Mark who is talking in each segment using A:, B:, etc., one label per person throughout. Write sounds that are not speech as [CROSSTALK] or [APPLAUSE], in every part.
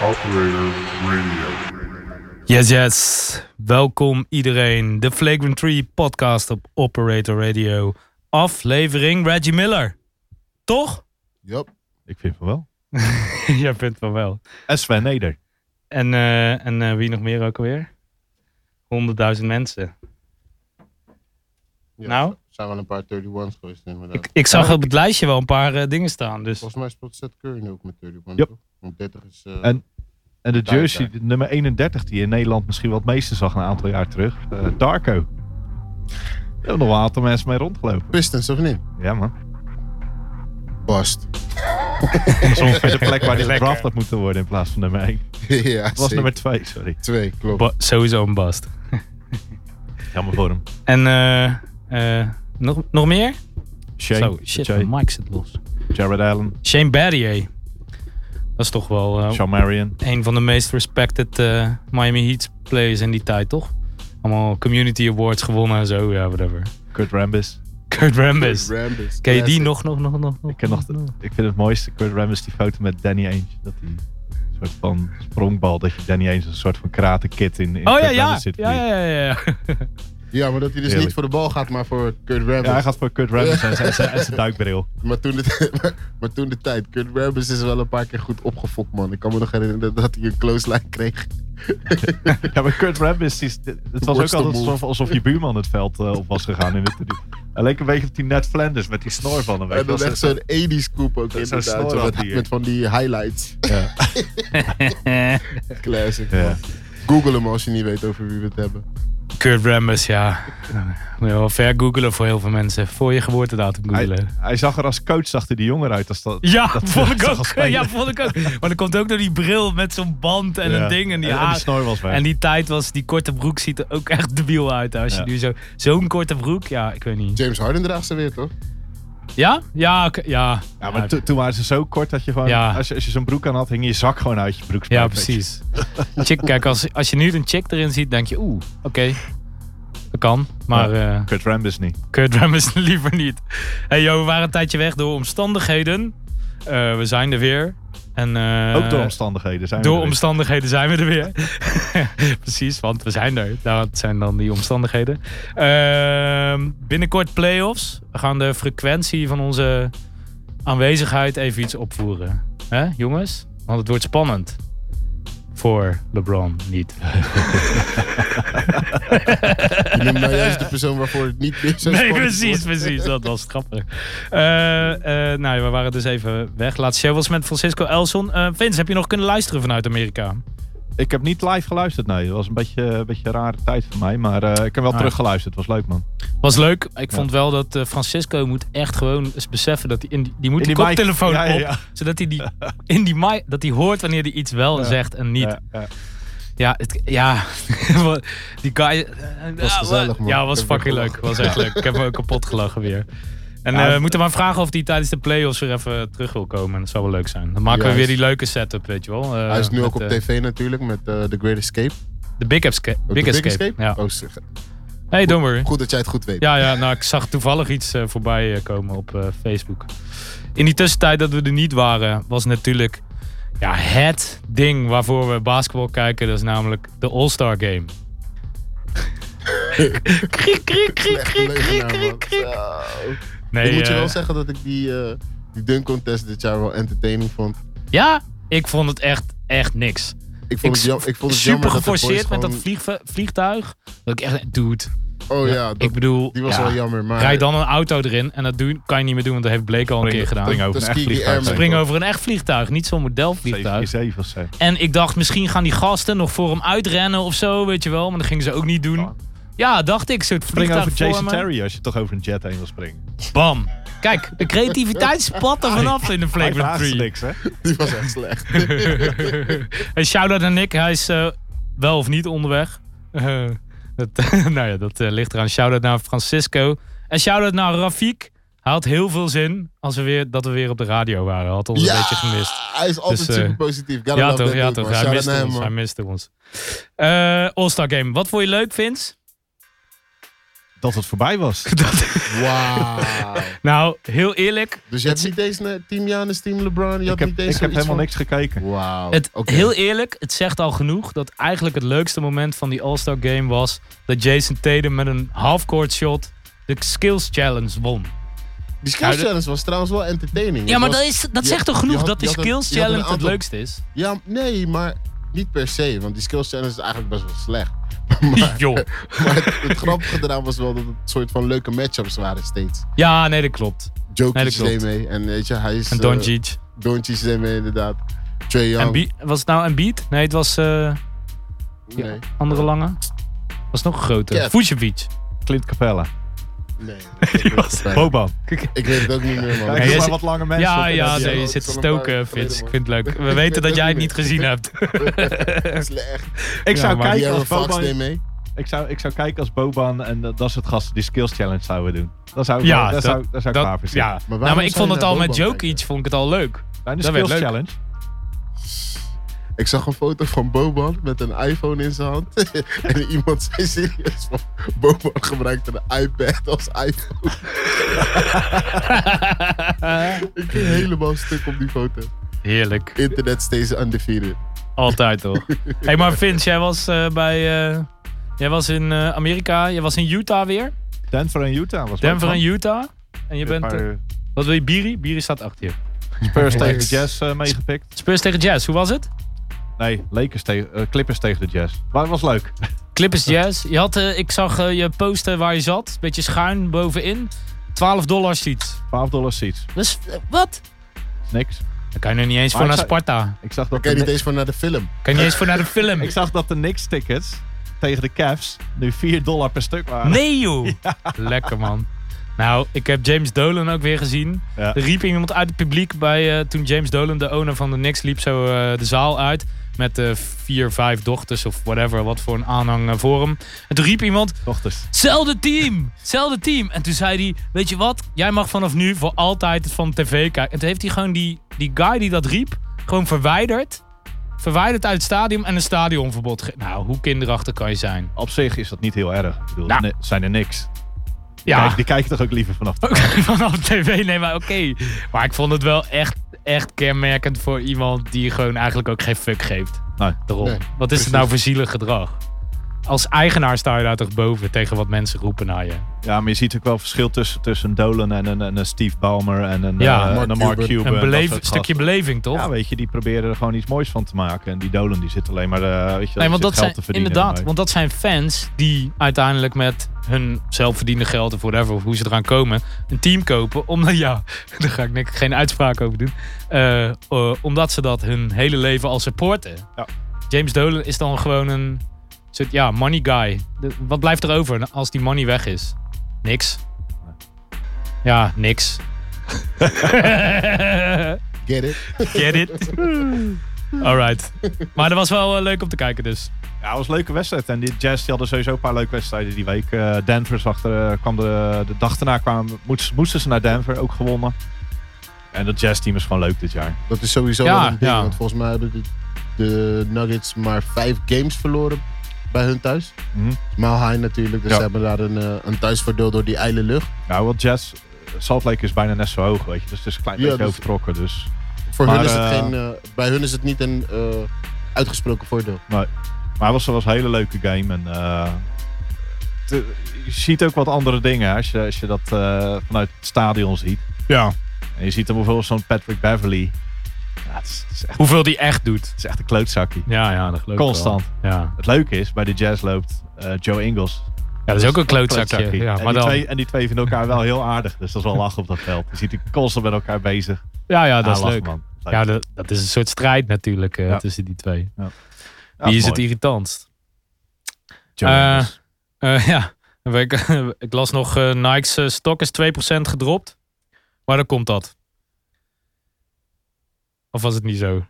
A: Operator Radio.
B: Yes, yes. Welkom iedereen. De Flagrant 3 podcast op Operator Radio. Aflevering Reggie Miller. Toch?
A: Yup.
C: Ik vind van wel.
B: [LAUGHS] Jij vindt van wel.
C: En Sven Neder.
B: En, eh, en eh, wie nog meer ook alweer? 100.000 mensen.
A: Ja,
B: Nou?
A: er Zijn wel een paar 31's geweest inderdaad.
B: Ik, ik zag op het lijstje wel een paar eh, dingen staan. Dus
A: Volgens mij speelt Seth Curry nu ook met 31.
C: Yup.
A: toch? Want 30 is... eh,
C: En- En de
A: Daar,
C: jersey de nummer 31 die je in Nederland misschien wel het meeste zag een aantal jaar terug. eh, Darko. Er hebben nog wel een aantal mensen mee rondgelopen.
A: Pistons of niet?
C: Ja man.
A: Bast.
C: Soms weer de plek [LAUGHS] waar die
B: Lekker.
C: gedraft had moeten worden in plaats van nummer 1.
A: [LAUGHS] ja,
C: Het was nummer 2, sorry.
A: 2, klopt.
B: ba- sowieso een bast.
C: Jammer voor hem.
B: En eh, eh, nog, nog meer?
C: Shane,
B: Zo, shit,
C: Jay,
B: mijn mic zit los.
C: Jared Allen,
B: Shane Battier. Dat is toch wel eh,
C: Sean Marion.
B: een van de meest respected eh, Miami Heat players in die tijd, toch? Allemaal community awards gewonnen en zo, ja, whatever.
C: Kurt Rambis.
B: Kurt Rambis.
A: Rambis.
B: Ken je die
A: Classic.
B: nog, nog, nog, nog? nog,
C: Ik, ken nog de- ik vind het mooiste, Kurt Rambis, die foto met Danny Ainge. Dat hij een soort van sprongbal, dat je Danny Ainge als een soort van kratenkit in, in
B: Oh
C: Kurt
B: ja, ja.
C: Rambis zit.
B: Ja, ja, ja. ja.
A: Ja, maar dat hij dus
C: Heerlijk.
A: niet voor de bal gaat, maar voor Kurt Rambis.
C: Ja, hij gaat voor Kurt Rambis en zijn- en zijn en zijn duikbril.
A: Maar toen, de, [LAUGHS] maar, maar toen de tijd. Kurt Rambis is wel een paar keer goed opgefokt, man. Ik kan me nog herinneren dat hij een close line
C: [LAUGHS]
A: kreeg.
C: Ja, maar Kurt Rambis, die, is- het was ook
A: Worstel
C: altijd
A: move.
C: alsof, alsof je buurman het veld eh, op was gegaan [LAUGHS] in het interview. Hij leek een beetje op die Ned Flanders met die snor van hem. weet je
A: En
C: wel.
A: dan echt zo'n 80s coupe ook
C: zo'n
A: inderdaad.
C: snor
A: zo
C: had
A: met,
C: hij, hè?
A: met van die
C: [LAUGHS]
A: highlights.
C: Ja. [LAUGHS]
A: Classic.
C: Ja.
A: [LAUGHS] man. Google hem als je niet weet over wie we het hebben.
B: Kurt Rambis, ja. Moet je wel ver googelen voor heel veel mensen. Voor je geboortedatum
C: Hij,
B: googelen.
C: hij zag er als coach, zag hij die jonger uit. Als dat,
B: Ja, [LAUGHS]
C: dat-
B: vond ik
C: dat als
B: ook.
C: speler.
B: Ja, vond ik ook. Maar dat komt ook door die bril met zo'n band en
C: Ja.
B: een ding en die
C: en
B: haar.
C: snor was weg.
B: En die tijd was, die korte broek ziet er ook echt debiel uit. Als je
C: Ja.
B: nu zo, zo'n korte broek, ja, ik weet niet.
A: James Harden draagt ze weer, toch?
B: Ja? Ja, oké, ja.
C: ja, maar to- toen waren ze zo kort dat je gewoon,
B: Ja.
C: als je, als je zo'n broek aan had, hing je zak gewoon uit je broekspijp.
B: Ja,
C: weet je.
B: precies. [LAUGHS] Chick, kijk, als, als je nu een chick erin ziet, denk je, oeh, oké. Dat kan, maar eh
C: Kurt Rambis niet.
B: Kurt [LAUGHS] Rambis liever niet. Hey joh, we waren een tijdje weg door omstandigheden. Eh, we zijn er weer. En, eh,
C: ook door omstandigheden zijn we
B: Door
C: er weer.
B: omstandigheden zijn we er weer. [LAUGHS] Precies, want we zijn er. Dat zijn dan die omstandigheden. Ehm, binnenkort play-offs. We gaan de frequentie van onze aanwezigheid even iets opvoeren. Hè, jongens? Want het wordt spannend. Voor LeBron
A: [LAUGHS]
B: niet.
A: Je noemt nou juist de persoon waarvoor het niet meer
B: [LAUGHS]
A: zo
B: Nee,
A: spannend
B: precies,
A: wordt.
B: precies. Dat was grappig. Eh, eh, nou ja, we waren dus even weg. Laatste show was met Francisco Elson. Eh Vince, heb je nog kunnen luisteren vanuit Amerika?
C: Ik heb niet live geluisterd, nee. Het was een beetje, een beetje een rare tijd voor mij. Maar eh, ik heb wel
B: Ah.
C: teruggeluisterd. Het was leuk, man.
B: Was leuk. Ik vond wel dat eh, Francisco moet echt gewoon eens beseffen dat hij in die, die moet
C: In
B: die,
C: die mic.
B: koptelefoon
C: Ja, ja, ja.
B: op, zodat hij die in die mic, dat hij hoort wanneer hij iets wel zegt en niet. Ja,
C: Ja, ja.
B: het, ja [LAUGHS] die guy. eh,
A: Was gezellig, man.
B: Ja, was
A: Ik heb
B: fucking
A: weer
B: leuk. Was echt leuk. Ik heb me ook kapot gelachen weer. En
C: Ja,
B: eh, we
C: het-
B: moeten maar vragen of hij tijdens de playoffs weer even terug wil komen. Dat zou wel leuk zijn. Dan maken we
A: Juist.
B: weer die leuke setup, weet je wel. Eh,
A: Hij is nu
B: met,
A: ook op
B: eh,
A: tv natuurlijk met eh, The Great Escape. Ook
B: De Big Escape.
A: de
B: Big, Escape. Ja.
A: Oh, zeg.
B: Hey, don't worry.
A: Goed dat jij het goed weet.
B: Ja, ja, nou, ik zag toevallig iets eh, voorbij eh, komen op eh, Facebook. In die tussentijd dat we er niet waren, was natuurlijk ja, het ding waarvoor we basketbal kijken. Dat is namelijk de All-Star
A: [LAUGHS]
B: Game. kriek, kriek, kriek,
A: Echt
B: kriek, kriek,
A: leugenaar,
B: kriek,
A: man.
B: kriek.
A: Zo.
B: Nee,
A: ik moet eh, je
B: eh,
A: wel zeggen dat ik die, eh, die dunk contest dit jaar wel entertaining vond.
B: ja, ik vond het echt, echt niks.
A: Ik vond
B: Ik
A: het, jam, ik vond het
B: Super
A: jammer dat de boys
B: geforceerd met dat
A: gewoon-
B: vliegve- vliegtuig. Dat ik echt, dude.
A: Oh ja, dat-
B: ik bedoel,
A: die was
B: ja,
A: wel jammer. Maar
B: Rijd dan een auto erin en dat doe, kan je niet meer doen, want dat heeft Blake al een keer gedaan.
C: Spring over een echt
A: Tuskegee
C: vliegtuig.
A: Airmen.
B: Spring over een echt vliegtuig, niet zo'n modelvliegtuig.
C: 747 of zo.
B: En ik dacht, misschien gaan die gasten nog voor hem uitrennen of zo, weet je wel. Maar dat gingen ze ook niet doen. Ja, dacht ik. Soort
C: Spring
B: vliegtuig
C: over Jason
B: voor me.
C: Terry als je toch over een jet heen wil springen.
B: Bam. Kijk, de
C: [LAUGHS]
B: creativiteit spat er vanaf in de
C: Hij
B: Flavor
C: vraagt
B: 3.
C: niks, hè?
A: die was echt slecht.
B: [LAUGHS] hey, shout-out aan Nick. Hij is eh, wel of niet onderweg. Eh, dat, [LAUGHS] nou ja, dat eh, ligt eraan. Shout-out naar Francisco. En shout-out naar Rafik. Hij had heel veel zin als we weer, dat we weer op de radio waren. Hij Had ons een beetje gemist.
A: Hij is altijd
B: Dus, eh,
A: super positief. Gotta
B: Ja
A: love
B: toch,
A: that
B: ja
A: dude,
B: toch.
A: man.
B: Hij
A: Shout-out
B: miste
A: naar hem,
B: ons.
A: man.
B: Hij miste ons. Eh All-Star Game. Wat vond je leuk, Vince?
C: dat het voorbij was.
B: Dat-
A: Wauw.
B: [LAUGHS] nou, heel eerlijk.
A: dus je hebt niet eens een Team Janus, Team LeBron. Je
C: ik
A: had
C: heb,
A: niet
C: ik
A: eens
C: heb
A: zoiets
C: helemaal
A: van-
C: niks gekeken.
A: Wauw.
B: Het,
A: Oké.
B: Heel eerlijk, het zegt al genoeg dat eigenlijk het leukste moment van die All-Star Game was dat Jason Tatum met een halfcourt shot de Skills Challenge won.
A: Die
B: Ja,
A: skills
B: dat-
A: challenge was trouwens wel entertaining.
B: Ja,
A: Het
B: maar
A: was-
B: dat, is, dat
A: je-
B: zegt toch
A: je
B: genoeg
A: had-
B: dat die
A: je had een-
B: Skills
A: je had een
B: Challenge het
A: aantal-
B: leukste [LAUGHS] is?
A: Ja, nee, maar niet per se. Want die skills challenge is eigenlijk best wel slecht.
B: [LAUGHS]
A: [LAUGHS]
B: Joh.
A: Maar het, het grappige eraan was wel dat het een soort van leuke matchups waren steeds.
B: Ja, nee, dat klopt. Nee,
A: Jokic
B: dat klopt.
A: deed mee. En weet je, hij is...
B: En
A: eh,
B: Doncic.
A: Doncic deed mee, inderdaad. Trae Young.
B: En Bie- was het nou een beat? Nee, het was eh,
A: nee,
B: ja. andere lange. Was nog een grote.
A: Ja.
B: Vucevic.
C: Clint Capella.
A: nee.
B: [LAUGHS] Die was-
C: Boban.
A: Ik weet het ook niet meer, man.
C: Kijk,
B: Ja,
C: doe
B: jij
C: maar
B: zit-
C: wat lange mensen.
B: Ja,
C: op en
B: ja,
C: dat-
A: nee,
B: nee,
A: al-
B: je
A: het
B: zit
A: is
B: te
A: al een paar
B: stoken,
A: jaar
B: Fitz. Ik
A: geleden,
B: vind het leuk. We
A: Ik
B: weten
A: weet
B: dat
A: ook
B: jij het niet
A: niet meer.
B: gezien hebt.
A: Slecht.
C: Ik
B: Ja,
C: zou
B: maar-
C: kijken
A: De'Aaron
C: als
A: Fox
C: Boban
A: deed mee.
C: Ik zou, ik zou kijken als Boban en dat, dat is het gast die skills challenge zouden doen. Dan zou ik,
B: Ja,
C: wel- daar
B: dat-
C: zou, daar zou ik
B: dat-
C: klaar voor
B: ja.
C: zitten.
A: Maar,
B: Nou, maar ik vond het al met
A: joke
B: Jokic vond ik het al leuk.
C: Bij de
B: Dat werd
C: skills
B: leuk.
C: challenge.
A: Ik zag een foto van Boban met een iPhone in zijn hand. [LAUGHS] en iemand zei serieus van... Boban gebruikte een iPad als iPhone. [LAUGHS] Ik ging helemaal stuk op die foto.
B: Heerlijk.
A: Internet steeds undefeated.
B: Altijd toch. hey, maar Vince, jij was eh, bij. eh, jij was in eh, Amerika, jij was in Utah weer.
C: Denver en Utah was
B: Denver
C: leuk,
B: en
C: man.
B: Utah. En je
C: Een
B: bent.
C: paar
B: eh, wat wil je, Biri? Biri staat achter je.
C: Spurs tegen de
A: Lakers.
C: Jazz eh, meegepikt.
B: Spurs tegen Jazz, hoe was het?
C: Nee, Lakers tegen, eh, Clippers tegen de Jazz. Maar het was leuk.
B: Clippers Jazz. Je had, eh, ik zag eh, je posten waar je zat. Beetje schuin bovenin. 12 dollar seats.
C: 12 dollar seats.
B: Dus eh, wat?
C: Niks.
B: Daar kan je nog niet eens
C: Maar
B: voor
C: ik
B: naar
C: zou-
B: Sparta.
C: Ik
A: Dan
C: zag dat
A: kan
C: de,
A: je niet
C: Kni-
A: eens van naar de film.
B: Kan je niet eens voor naar de film.
C: ik zag dat de Knicks tickets tegen de Cavs nu 4 dollar per stuk waren.
B: Nee [LAUGHS] joh. Lekker man. Nou, ik heb James Dolan ook weer gezien.
C: Ja.
B: Er riep iemand uit het publiek bij, eh, toen James Dolan, de owner van de Knicks, liep zo eh, de zaal uit. Met eh, vier, vijf dochters of whatever, wat voor een aanhang eh, voor hem. En toen riep iemand,
C: Dochters.
B: zelfde team, zelfde team. En toen zei hij, weet je wat, jij mag vanaf nu voor altijd van tv kijken. En toen heeft hij gewoon die, die guy die dat riep, gewoon verwijderd. Verwijderd uit het stadion en een stadionverbod. ge- Nou, hoe kinderachtig kan je zijn?
C: Op zich is dat niet heel erg. Ik bedoel,
B: Nou.
C: ne- zijn er niks.
B: Ja.
C: Kijk, die kijken toch ook liever vanaf.
B: [LAUGHS] Oké, vanaf tv, nee, maar oké. Maar ik vond het wel echt, echt kenmerkend voor iemand die gewoon eigenlijk ook geen fuck geeft.
C: Nee.
B: Daarom.
A: Nee,
B: Wat is het nou voor zielig gedrag? Als eigenaar sta je daar toch boven tegen wat mensen roepen naar je.
C: Ja, maar je ziet ook wel verschil tussen, tussen Dolan en een, en een Steve Ballmer en een,
B: Ja.
C: eh, en
A: Mark
C: een Mark
A: Cuban.
C: Cuban.
B: Een
C: dat
B: beleef,
C: soort
B: stukje
C: gasten.
B: beleving, toch?
C: Ja, weet je, die proberen er gewoon iets moois van te maken. En die Dolan die zit alleen maar eh, weet je, wel,
B: nee,
C: die
B: want
C: zit
B: dat
C: geld
B: zijn,
C: te verdienen.
B: inderdaad,
C: ermee.
B: want dat zijn fans die uiteindelijk met hun zelfverdiende geld of whatever, of hoe ze eraan komen, een team kopen. [LAUGHS] Omdat, ja, daar ga ik niks- geen uitspraak over doen. Eh, eh, omdat ze dat hun hele leven al supporten.
C: Ja.
B: James Dolan is dan gewoon een soort, ja, money guy. De- wat blijft er over als die money weg is? Niks. Ja,
C: [LAUGHS]
B: niks.
A: Get it?
B: Get it? Alright. Maar dat was wel eh, leuk om te kijken dus.
C: Ja, het was een leuke wedstrijd. En die Jazz die hadden sowieso een paar leuke wedstrijden die week. Eh, Denver zag er, eh, kwam de, de dag daarna kwamen, moesten, moesten ze naar Denver, ook gewonnen. En dat Jazz team is gewoon leuk dit jaar.
A: Dat is sowieso
B: Ja,
A: wel een ding.
B: ja.
A: Want volgens mij hebben de, de Nuggets maar vijf games verloren bij hun thuis.
C: Mhm.
A: Mile High natuurlijk. Dus
C: Ja.
A: ze hebben daar een, eh, een thuisvoordeel door die ijle lucht.
C: Nou, want Jazz, Salt Lake is bijna net zo hoog, weet je. Dus het is een klein
A: Ja,
C: beetje
A: dus-
C: overtrokken. Dus
A: Voor
C: Maar,
A: hun is het
C: eh,
A: geen, eh, bij hun is het niet een eh, uitgesproken voordeel.
C: Maar het was, het was een hele leuke game. En, eh, te- je ziet ook wat andere dingen hè, als je, als je dat eh, vanuit het stadion ziet.
B: Ja.
C: En je ziet dan bijvoorbeeld zo'n Patrick Beverly. Ja, het, is, het is echt,
B: Hoeveel die echt doet.
C: het is echt een klootzakje.
B: Ja, ja, dat geloof ik
C: Constant.
B: wel. Ja.
C: Het leuke is, bij de jazz loopt eh, Joe Ingles.
B: ja, dus dat is ook een klootzakje. Ja,
C: en,
B: maar dan,
C: die twee, en die twee vinden elkaar wel heel aardig. Dus dat is wel lachen op dat veld. Je ziet die constant met elkaar bezig.
B: ja, ja, dat
C: Ah,
B: is
C: lachen,
B: leuk.
C: man. Leuk.
B: Ja, dat, dat is een soort strijd natuurlijk eh,
C: Ja.
B: tussen die twee.
C: Ja,
B: Wie is het
C: mooi.
B: irritantst?
C: Joe
B: Eh,
C: Ingles.
B: Eh, [LAUGHS] ja, ik, ik las nog eh, Nike's eh, stok is 2% gedropt. Maar dan komt dat. Of was het niet zo?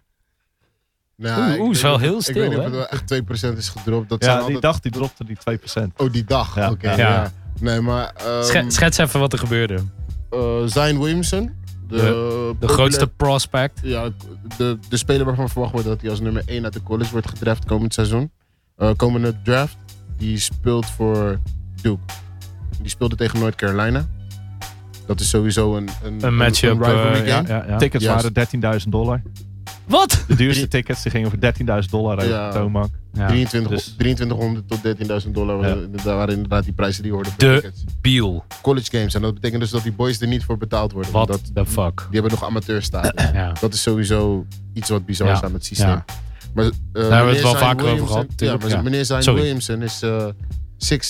A: Nou,
B: Oeh,
A: ik
B: oeh, is
A: weet
B: wel
A: niet-
B: heel
A: Ik
B: stil,
A: weet niet of
B: hè?
A: het wel echt 2% is gedropt. Dat
C: Ja,
A: zijn
C: die
A: altijd...
C: dag die dropte die 2%.
A: Oh, die dag.
C: Ja,
A: Oké,
C: ja.
A: ja.
B: Ja.
A: Nee, maar... ehm,
B: Sche- schets even wat er gebeurde.
A: eh, Zion Williamson. De,
B: De- De grootste prospect.
A: Ja, de, de speler waarvan verwacht wordt dat hij als nummer 1 uit de college wordt gedraft komend seizoen. Eh, komende draft. Die speelt voor Duke. Die speelde tegen North Carolina. Dat is sowieso een, een,
B: Een matchup.
A: een rivalry
B: eh, ja,
A: game.
B: ja, ja.
C: Tickets
A: Juist.
C: waren 13.000 dollar.
B: Wat?
C: De duurste tickets die gingen voor 13.000 dollar uit
A: Ja.
C: de toonbank.
B: Ja.
A: 23,
C: dus-
A: 2300 tot 13.000 dollar waren, daar waren inderdaad die prijzen die je hoorde. voor
B: De-
A: tickets.
B: Biel.
A: College games. En dat betekent dus dat die boys er niet voor betaald worden.
B: What
A: want dat-
B: the fuck?
A: die hebben nog amateurstatus.
B: Ja.
A: dat is sowieso iets wat bizar is
B: Ja,
A: aan het systeem.
B: ja.
A: Maar, eh,
B: we het
A: meneer
B: wel
A: Zion
B: vaker over gehad,
A: Williamson- Ja,
B: natuurlijk,
A: maar
B: ja.
A: meneer Zion
B: Sorry.
A: Williamson is eh 6'7",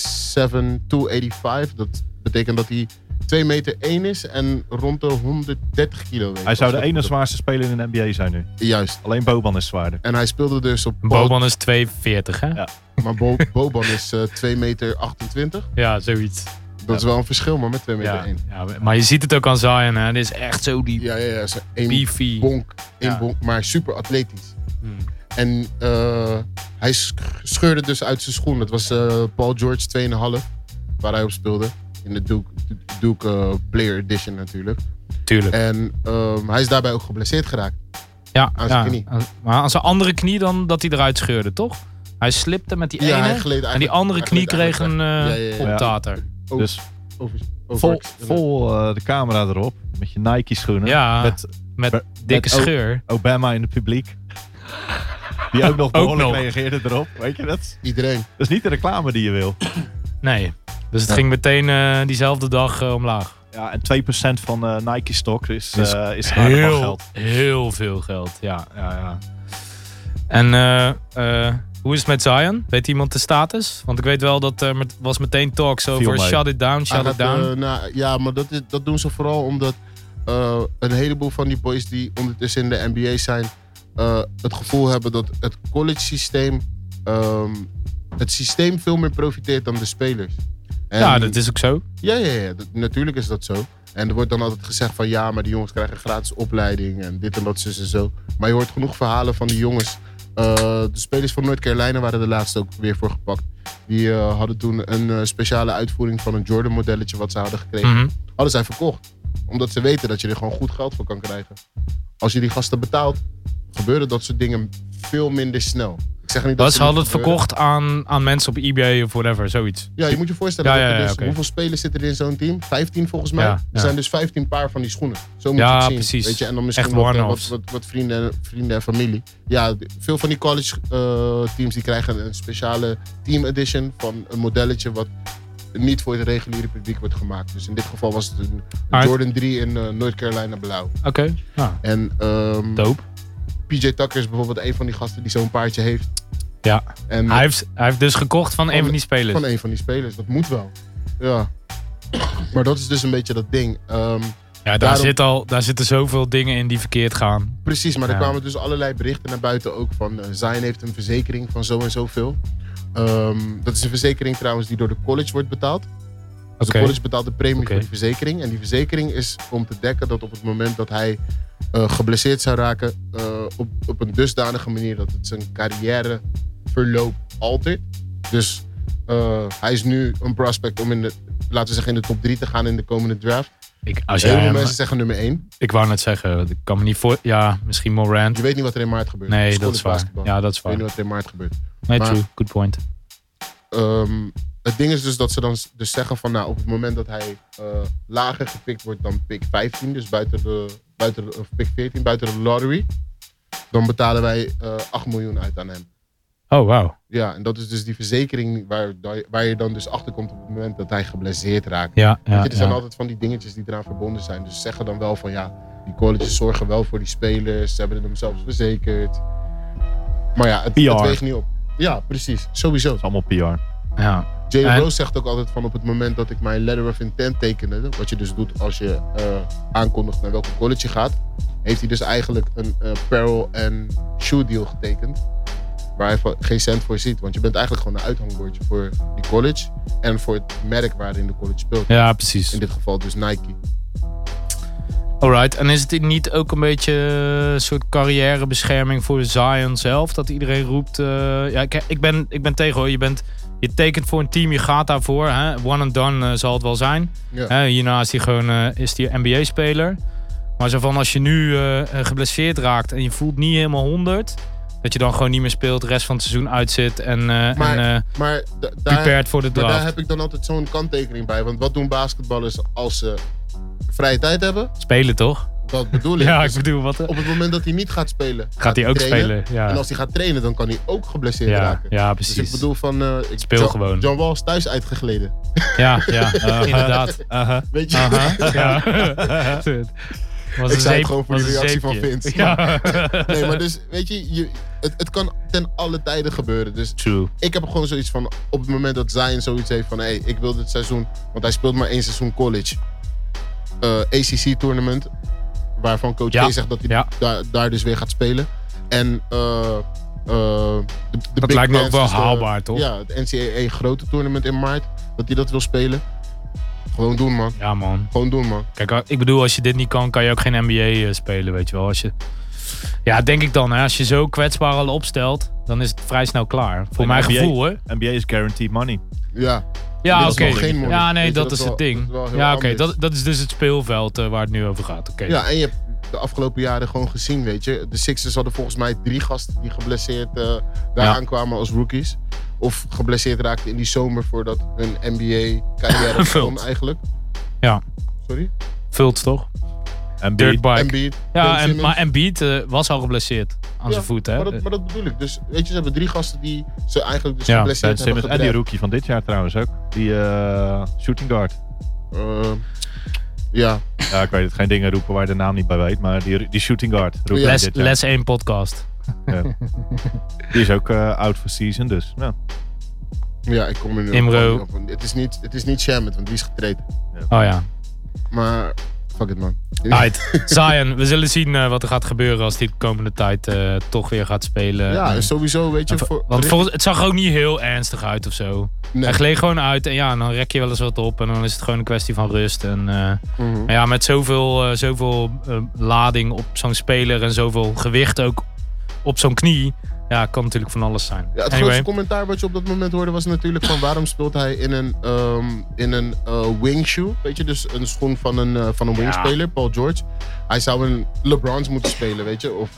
A: 285. Dat betekent dat hij 2 meter 1 is en rond de 130 kilo weegt.
C: Hij zou de
A: Als
C: ene
A: dat-
C: zwaarste speler in de NBA zijn nu.
A: Juist.
C: Alleen Boban is zwaarder.
A: En hij speelde dus op...
B: Boban is 240, hè?
C: Ja.
A: Maar Bo- Boban is eh 2 meter 28.
B: Ja, zoiets.
A: Dat is wel een verschil, maar met 2 meter
B: Ja.
A: 1.
B: Ja, maar je ziet het ook aan Zion, hè? Dit is echt zo die
A: Ja, ja, ja. Zo één
B: beefy.
A: bonk, één
B: Ja.
A: bonk, maar super atletisch.
B: Hmm.
A: En eh, hij sch- scheurde dus uit zijn schoen. Dat was eh, Paul George 2,5, waar hij op speelde. In de Duke, Duke eh, Player Edition natuurlijk.
B: Tuurlijk.
A: En ehm, hij is daarbij ook geblesseerd geraakt.
B: Ja,
A: aan zijn
B: ja.
A: knie.
B: Aan- Maar aan zijn andere knie dan dat hij eruit scheurde, toch? Hij slipte met die ene.
A: hij gleed
B: en die
A: eigenlijk-
B: andere
A: hij
B: knie
A: gleed eigenlijk
B: kreeg een eh
A: Ja, ja, ja.
B: optater.
A: Oh.
C: Dus
A: over,
C: vol,
A: over-
C: vol eh, de camera erop. Met je Nike schoenen.
B: Ja,
C: Met
B: met
C: met
B: dikke
C: ook-
B: scheur.
C: Obama in het publiek. Die
B: [LAUGHS]
C: ook nog behoorlijk
B: nog.
C: reageerde erop. Weet je dat?
A: Iedereen.
C: Dat is niet de reclame die je wil.
B: Nee. Dus het
A: Ja.
B: ging meteen eh, diezelfde dag eh, omlaag.
C: Ja, en 2% van eh, Nike stock is,
B: Is
C: eh is aardig wat
B: Heel,
C: geld.
B: heel veel geld. Ja,
C: Ja, ja.
B: En eh, eh, hoe is het met Zion? Weet iemand de status? Want ik weet wel dat er met- was meteen talks over
C: mee.
B: shut it down, shut
A: Hij
B: it
A: gaat,
B: down.
A: eh, nou, ja, maar dat, is, dat doen ze vooral omdat eh, een heleboel van die boys die ondertussen in de NBA zijn, eh, het gevoel hebben dat het college systeem, ehm, het systeem veel meer profiteert dan de spelers. En-
B: ja, dat is ook zo.
A: Ja, ja, ja dat- natuurlijk is dat zo. En er wordt dan altijd gezegd van ja, maar die jongens krijgen gratis opleiding en dit en dat, zus en zo. Maar je hoort genoeg verhalen van die jongens. Eh, de spelers van North Carolina waren de laatste ook weer voor gepakt. Die eh, hadden toen een eh, speciale uitvoering van een Jordan modelletje wat ze hadden gekregen.
B: Mhm.
A: Hadden zij verkocht. Omdat ze weten dat je er gewoon goed geld voor kan krijgen. Als je die gasten betaalt, gebeuren dat soort dingen veel minder snel. Ik zeg niet dat
B: Dus
A: ze
B: ze hadden
A: niet
B: het
A: gebeuren.
B: verkocht aan, aan mensen op eBay of whatever, zoiets.
A: Ja, je moet je voorstellen.
B: Ja,
A: dat er
B: ja, ja,
A: dus-
B: oké.
A: Hoeveel spelers zitten er in zo'n team? 15 volgens mij.
B: Ja,
A: Er
B: ja.
A: zijn dus 15 paar van die schoenen. Zo moet
B: Ja,
A: je het zien.
B: precies.
A: Weet je? En dan misschien
B: Echt
A: wat, eh, wat,
B: one-offs.
A: wat, wat vrienden, vrienden en familie. Ja, d- veel van die college eh, teams die krijgen een speciale team edition van een modelletje wat niet voor het reguliere publiek wordt gemaakt. Dus in dit geval was het een
B: Aard.
A: Jordan 3 in eh, North Carolina blauw.
B: Oké, nou,
A: En ehm,
B: dope.
A: PJ Tucker is bijvoorbeeld een van die gasten die zo'n paardje heeft.
B: Ja.
A: En
B: Hij heeft, hij heeft dus gekocht van een van die spelers.
A: van een van die spelers. Dat moet wel. Ja. Maar dat is dus een beetje dat ding. Ehm,
B: Ja, daar,
A: daarom-
B: zit al, daar zitten zoveel dingen in die verkeerd gaan.
A: precies, maar er
B: Ja.
A: kwamen dus allerlei berichten naar buiten ook van... eh Zion heeft een verzekering van zo en zoveel. Ehm, dat is een verzekering trouwens die door de college wordt betaald. Dus
B: Oké.
A: de college betaalt de premie
B: Oké.
A: voor die verzekering. En die verzekering is om te dekken dat op het moment dat hij eh, geblesseerd zou raken... eh, op, op een dusdanige manier dat het zijn carrièreverloop altert. Dus eh, hij is nu een prospect om in de, laten we zeggen, in de top 3 te gaan in de komende draft.
B: Ik, als jij
A: Heel veel
B: hem-
A: mensen zeggen nummer 1.
B: ik wou net zeggen, want ik kan me niet voor... Ja, misschien Morant.
A: Je weet niet wat er in maart gebeurt.
B: Nee,
A: School
B: dat is waar.
A: basketbal.
B: Ja, dat is
A: Je weet
B: waar.
A: niet wat er in maart gebeurt.
B: Nee,
A: maar-
B: true. Good point.
A: Ehm, het ding is dus dat ze dan s- dus zeggen van nou, op het moment dat hij eh, lager gepikt wordt dan pick 15, dus buiten de, buiten de- of pick 14, buiten de lottery, dan betalen wij eh 8 miljoen uit aan hem.
B: Oh, wauw.
A: Ja, en dat is dus die verzekering waar, waar je dan dus achter komt op het moment dat hij geblesseerd raakt.
B: Ja,
A: Weet
B: ja,
A: je, er zijn
B: ja.
A: altijd van die dingetjes die eraan verbonden zijn. Dus ze zeggen dan wel van ja, die colleges zorgen wel voor die spelers. Ze hebben het zelfs verzekerd. Maar ja, het, het
C: PR.
A: weegt niet op. Ja, precies. Sowieso.
C: is allemaal PR.
B: ja.
A: Jay
B: En-
A: Rose zegt ook altijd van op het moment dat ik mijn letter of intent tekende. Wat je dus doet als je eh, aankondigt naar welke college je gaat. Heeft hij dus eigenlijk een eh, apparel en shoe deal getekend. Waar hij van- geen cent voor ziet. Want je bent eigenlijk gewoon een uithangbordje voor die college. En voor het merk waarin de college speelt.
B: Ja, precies.
A: In dit geval dus Nike.
B: Alright, en is het niet ook een beetje eh, een soort carrièrebescherming voor Zion zelf? Dat iedereen roept, eh, ja, ik, ik, ben, ik ben tegen hoor, je, bent, je tekent voor een team, je gaat daarvoor. Hè? One and done eh, zal het wel zijn.
A: Ja.
B: Hè, hierna is hij gewoon eh, is die NBA-speler. Maar zo van als je nu eh, eh, geblesseerd raakt en je voelt niet helemaal 100, Dat je dan gewoon niet meer speelt, de rest van het seizoen uitzit en, eh,
A: Maar-
B: en eh,
A: Maar, da- daar,
B: prepared voor de
A: maar daar
B: draft.
A: heb ik dan altijd zo'n kanttekening bij. Want wat doen basketballers als ze vrije tijd hebben?
B: Spelen toch?
A: Dat bedoel ik.
B: Ja,
A: Dus
B: ik bedoel, wat
A: op het moment dat hij niet gaat spelen,
B: gaat hij ook
A: trainen.
B: spelen?
A: En
B: Ja,
A: als hij gaat trainen, dan kan hij ook geblesseerd
B: ja,
A: raken.
B: ja
A: Dus
B: precies.
A: ik bedoel van... eh, ik,
B: Speel
A: John,
B: gewoon.
A: John Wall is thuis uitgegleden.
B: Ja,
A: [LAUGHS]
B: ja, inderdaad.
A: Ah.
C: Aha.
A: Weet je?
B: Aha, ja. Was
A: Ik
B: een
A: zei
B: zeep-
A: het gewoon voor
B: was
A: die
B: een
A: reactie van
B: zeepje.
A: Vince.
B: Ja.
A: [LAUGHS] Nee, maar dus, weet je, je het, het kan ten alle tijden gebeuren. Dus
C: True.
A: ik heb gewoon zoiets van, op het moment dat Zion zoiets heeft van... hé, hey, ik wil dit seizoen, want hij speelt maar één seizoen college. eh, ACC-tournament, waarvan coach
B: Ja,
A: K zegt dat hij
B: ja.
A: daar, daar dus weer gaat spelen. En eh, eh, de, de
B: Dat
A: Big
B: lijkt me ook
A: Dance,
B: wel
A: dus de-
B: haalbaar, toch?
A: Ja, het NCAA grote tournament in maart, dat hij dat wil spelen. Gewoon doen, man.
B: Ja, man.
A: Gewoon doen, man.
B: Kijk, a- ik bedoel, als je dit niet kan, kan je ook geen NBA eh, spelen, weet je wel. Als je, ja, denk ik dan. Hè. Als je zo kwetsbaar al opstelt, dan is het vrij snel klaar. Voor
C: Een
B: mijn
C: NBA.
B: gevoel, hoor.
C: NBA is guaranteed money.
A: Ja.
B: Ja,
A: Dit
B: oké.
A: is nog geen money.
B: Ja,
A: Weet
B: nee,
A: je,
B: dat,
A: dat
B: is
A: is
B: het
A: wel-
B: ding.
A: dat is wel heel
B: ja, oké.
A: anders.
B: Dat, dat is dus het speelveld eh, waar het nu over gaat. Oké.
A: Ja, en je hebt de afgelopen jaren gewoon gezien, weet je. De Sixers hadden volgens mij drie gasten die geblesseerd eh daar
B: Ja.
A: aankwamen als rookies. Of geblesseerd raakten in die zomer voordat hun
B: [LAUGHS]
A: NBA-carrière begon
B: Vult.
A: eigenlijk.
B: Ja.
A: Sorry?
B: Vult toch?
C: En
B: Dirt bike.
A: Embiid, Ben
B: ja, en,
A: Simmons.
B: maar Embiid eh, was al geblesseerd aan
A: Ja,
B: zijn voet, hè?
A: Maar dat, maar dat bedoel ik. Dus weet je, ze hebben drie gasten die ze eigenlijk dus
B: Ja,
A: geblesseerd
C: Ben
A: hebben
C: Simmons en die
A: gedraft.
C: rookie van dit jaar trouwens ook. Die eh, shooting guard.
A: Eh, ja,
C: Ja, ik weet het. Geen dingen roepen waar je de naam niet bij weet. Maar die, die shooting guard. Rookie
A: Ja.
B: les,
C: dit jaar.
B: les 1 podcast.
C: Die is ook eh, out for season dus. Nou,
A: ja, ik kom er nu
B: Imro.
A: op. Het is niet, het is niet Shamet, want die is getraind.
B: Oh ja.
A: Maar fuck it, man. [LAUGHS]
B: Right. Zion, we zullen zien eh, wat er gaat gebeuren als hij de komende tijd eh, toch weer gaat spelen.
A: ja,
B: En-
A: en sowieso, weet je.
B: en vo-
A: Voor,
B: want volgens, het zag er ook niet heel ernstig uit of zo.
A: nee.
B: Hij gleed gewoon uit en ja, dan rek je wel eens wat op. En dan is het gewoon een kwestie van rust. En, eh,
A: Mhm.
B: Maar ja, met zoveel, eh, zoveel eh, lading op zo'n speler en zoveel gewicht ook op zo'n knie. Ja, kan natuurlijk van alles zijn.
A: Ja, het
B: anyway,
A: grootste commentaar wat je op dat moment hoorde was natuurlijk van waarom speelt hij in een, ehm in een eh, wingshoe, weet je, dus een schoen van een, eh, van een
B: Ja.
A: wingspeler, Paul George. Hij zou een LeBron's moeten spelen, weet je, of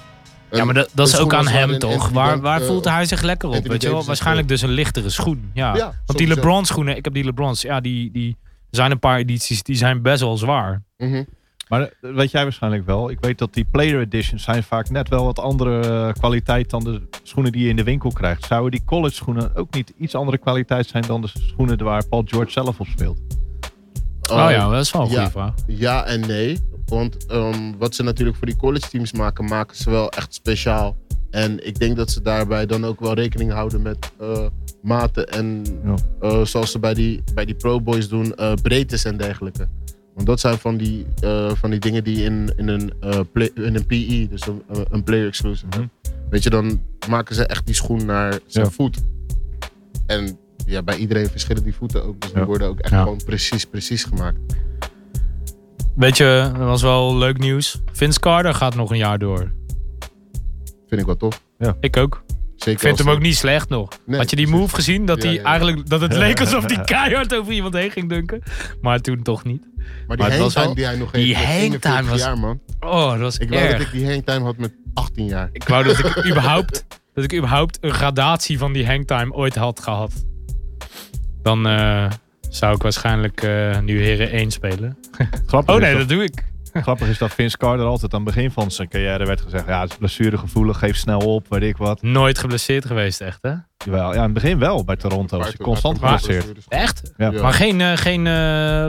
A: een-
B: ja, maar dat, dat is
A: schoen
B: ook aan
A: als
B: hem
A: waarin
B: toch?
A: Anthony
B: Waar,
A: Dan-
B: waar
A: eh,
B: voelt hij zich lekker op?
A: Anthony
B: Weet je wel?
A: Davis en
B: Waarschijnlijk dus een lichtere schoen. Ja.
A: Ja,
B: Want die
A: sowieso.
B: LeBron schoenen, ik heb die LeBrons, ja, die, die er zijn een paar edities, die zijn best wel zwaar.
A: Mhm.
C: Maar dat weet jij waarschijnlijk wel. Ik weet dat die player editions zijn vaak net wel wat andere eh, kwaliteit dan de schoenen die je in de winkel krijgt. Zouden die college schoenen ook niet iets andere kwaliteit zijn dan de schoenen waar Paul George zelf op speelt?
B: Oh, ja, dat is wel een goede
A: ja.
B: vraag.
A: Ja en nee. Want ehm, wat ze natuurlijk voor die college teams maken, maken ze wel echt speciaal. En ik denk dat ze daarbij dan ook wel rekening houden met eh, maten. En
C: Ja.
A: eh, zoals ze bij die, bij die Pro Boys doen, eh breedtes en dergelijke. Want dat zijn van die, eh, van die dingen die in, in, een, eh, play- in een PE, dus een, eh, een player exclusive.
C: Mhm.
A: Weet je, dan maken ze echt die schoen naar zijn
C: Ja.
A: voet. En ja, bij iedereen verschillen die voeten ook. Dus die
C: Ja.
A: worden ook echt
B: Ja.
A: gewoon precies, precies gemaakt.
B: Weet je, dat was wel leuk nieuws. Vince Carter gaat nog een jaar door.
A: Vind ik wel tof.
B: Ik ook.
A: Zeker
B: Ik vind
A: als-
B: hem ook niet slecht nog.
A: Nee,
B: Had je die move gezien? Dat,
A: Ja,
B: hij
A: ja, ja.
B: Eigenlijk, dat het leek alsof [LAUGHS] hij keihard over iemand heen ging dunken. Maar toen toch niet.
A: Maar die
B: Maar het was
A: hangtime
B: wel-
A: die hij nog
B: die
A: heeft. met
B: hangtime
A: 41
B: was
A: jaar, man.
B: Oh, dat was
A: Ik wou
B: erg.
A: dat ik die hangtime had met 18 jaar.
B: Ik wou dat ik überhaupt, dat ik überhaupt een gradatie van die hangtime ooit had gehad. Dan eh, zou ik waarschijnlijk eh, nu heren 1 spelen.
C: Grappig,
B: Oh
C: is
B: nee,
C: dat,
B: dat doe ik.
C: grappig is dat Vince Carter altijd aan het begin van zijn carrière werd gezegd. Ja, het is blessuregevoelig, geef snel op, weet ik wat.
B: Nooit geblesseerd geweest, echt hè?
C: Jawel, ja, in het begin wel bij Toronto was hij constant
B: maar-
C: geblesseerd.
B: Echt?
C: Ja.
B: Maar geen, eh, geen eh,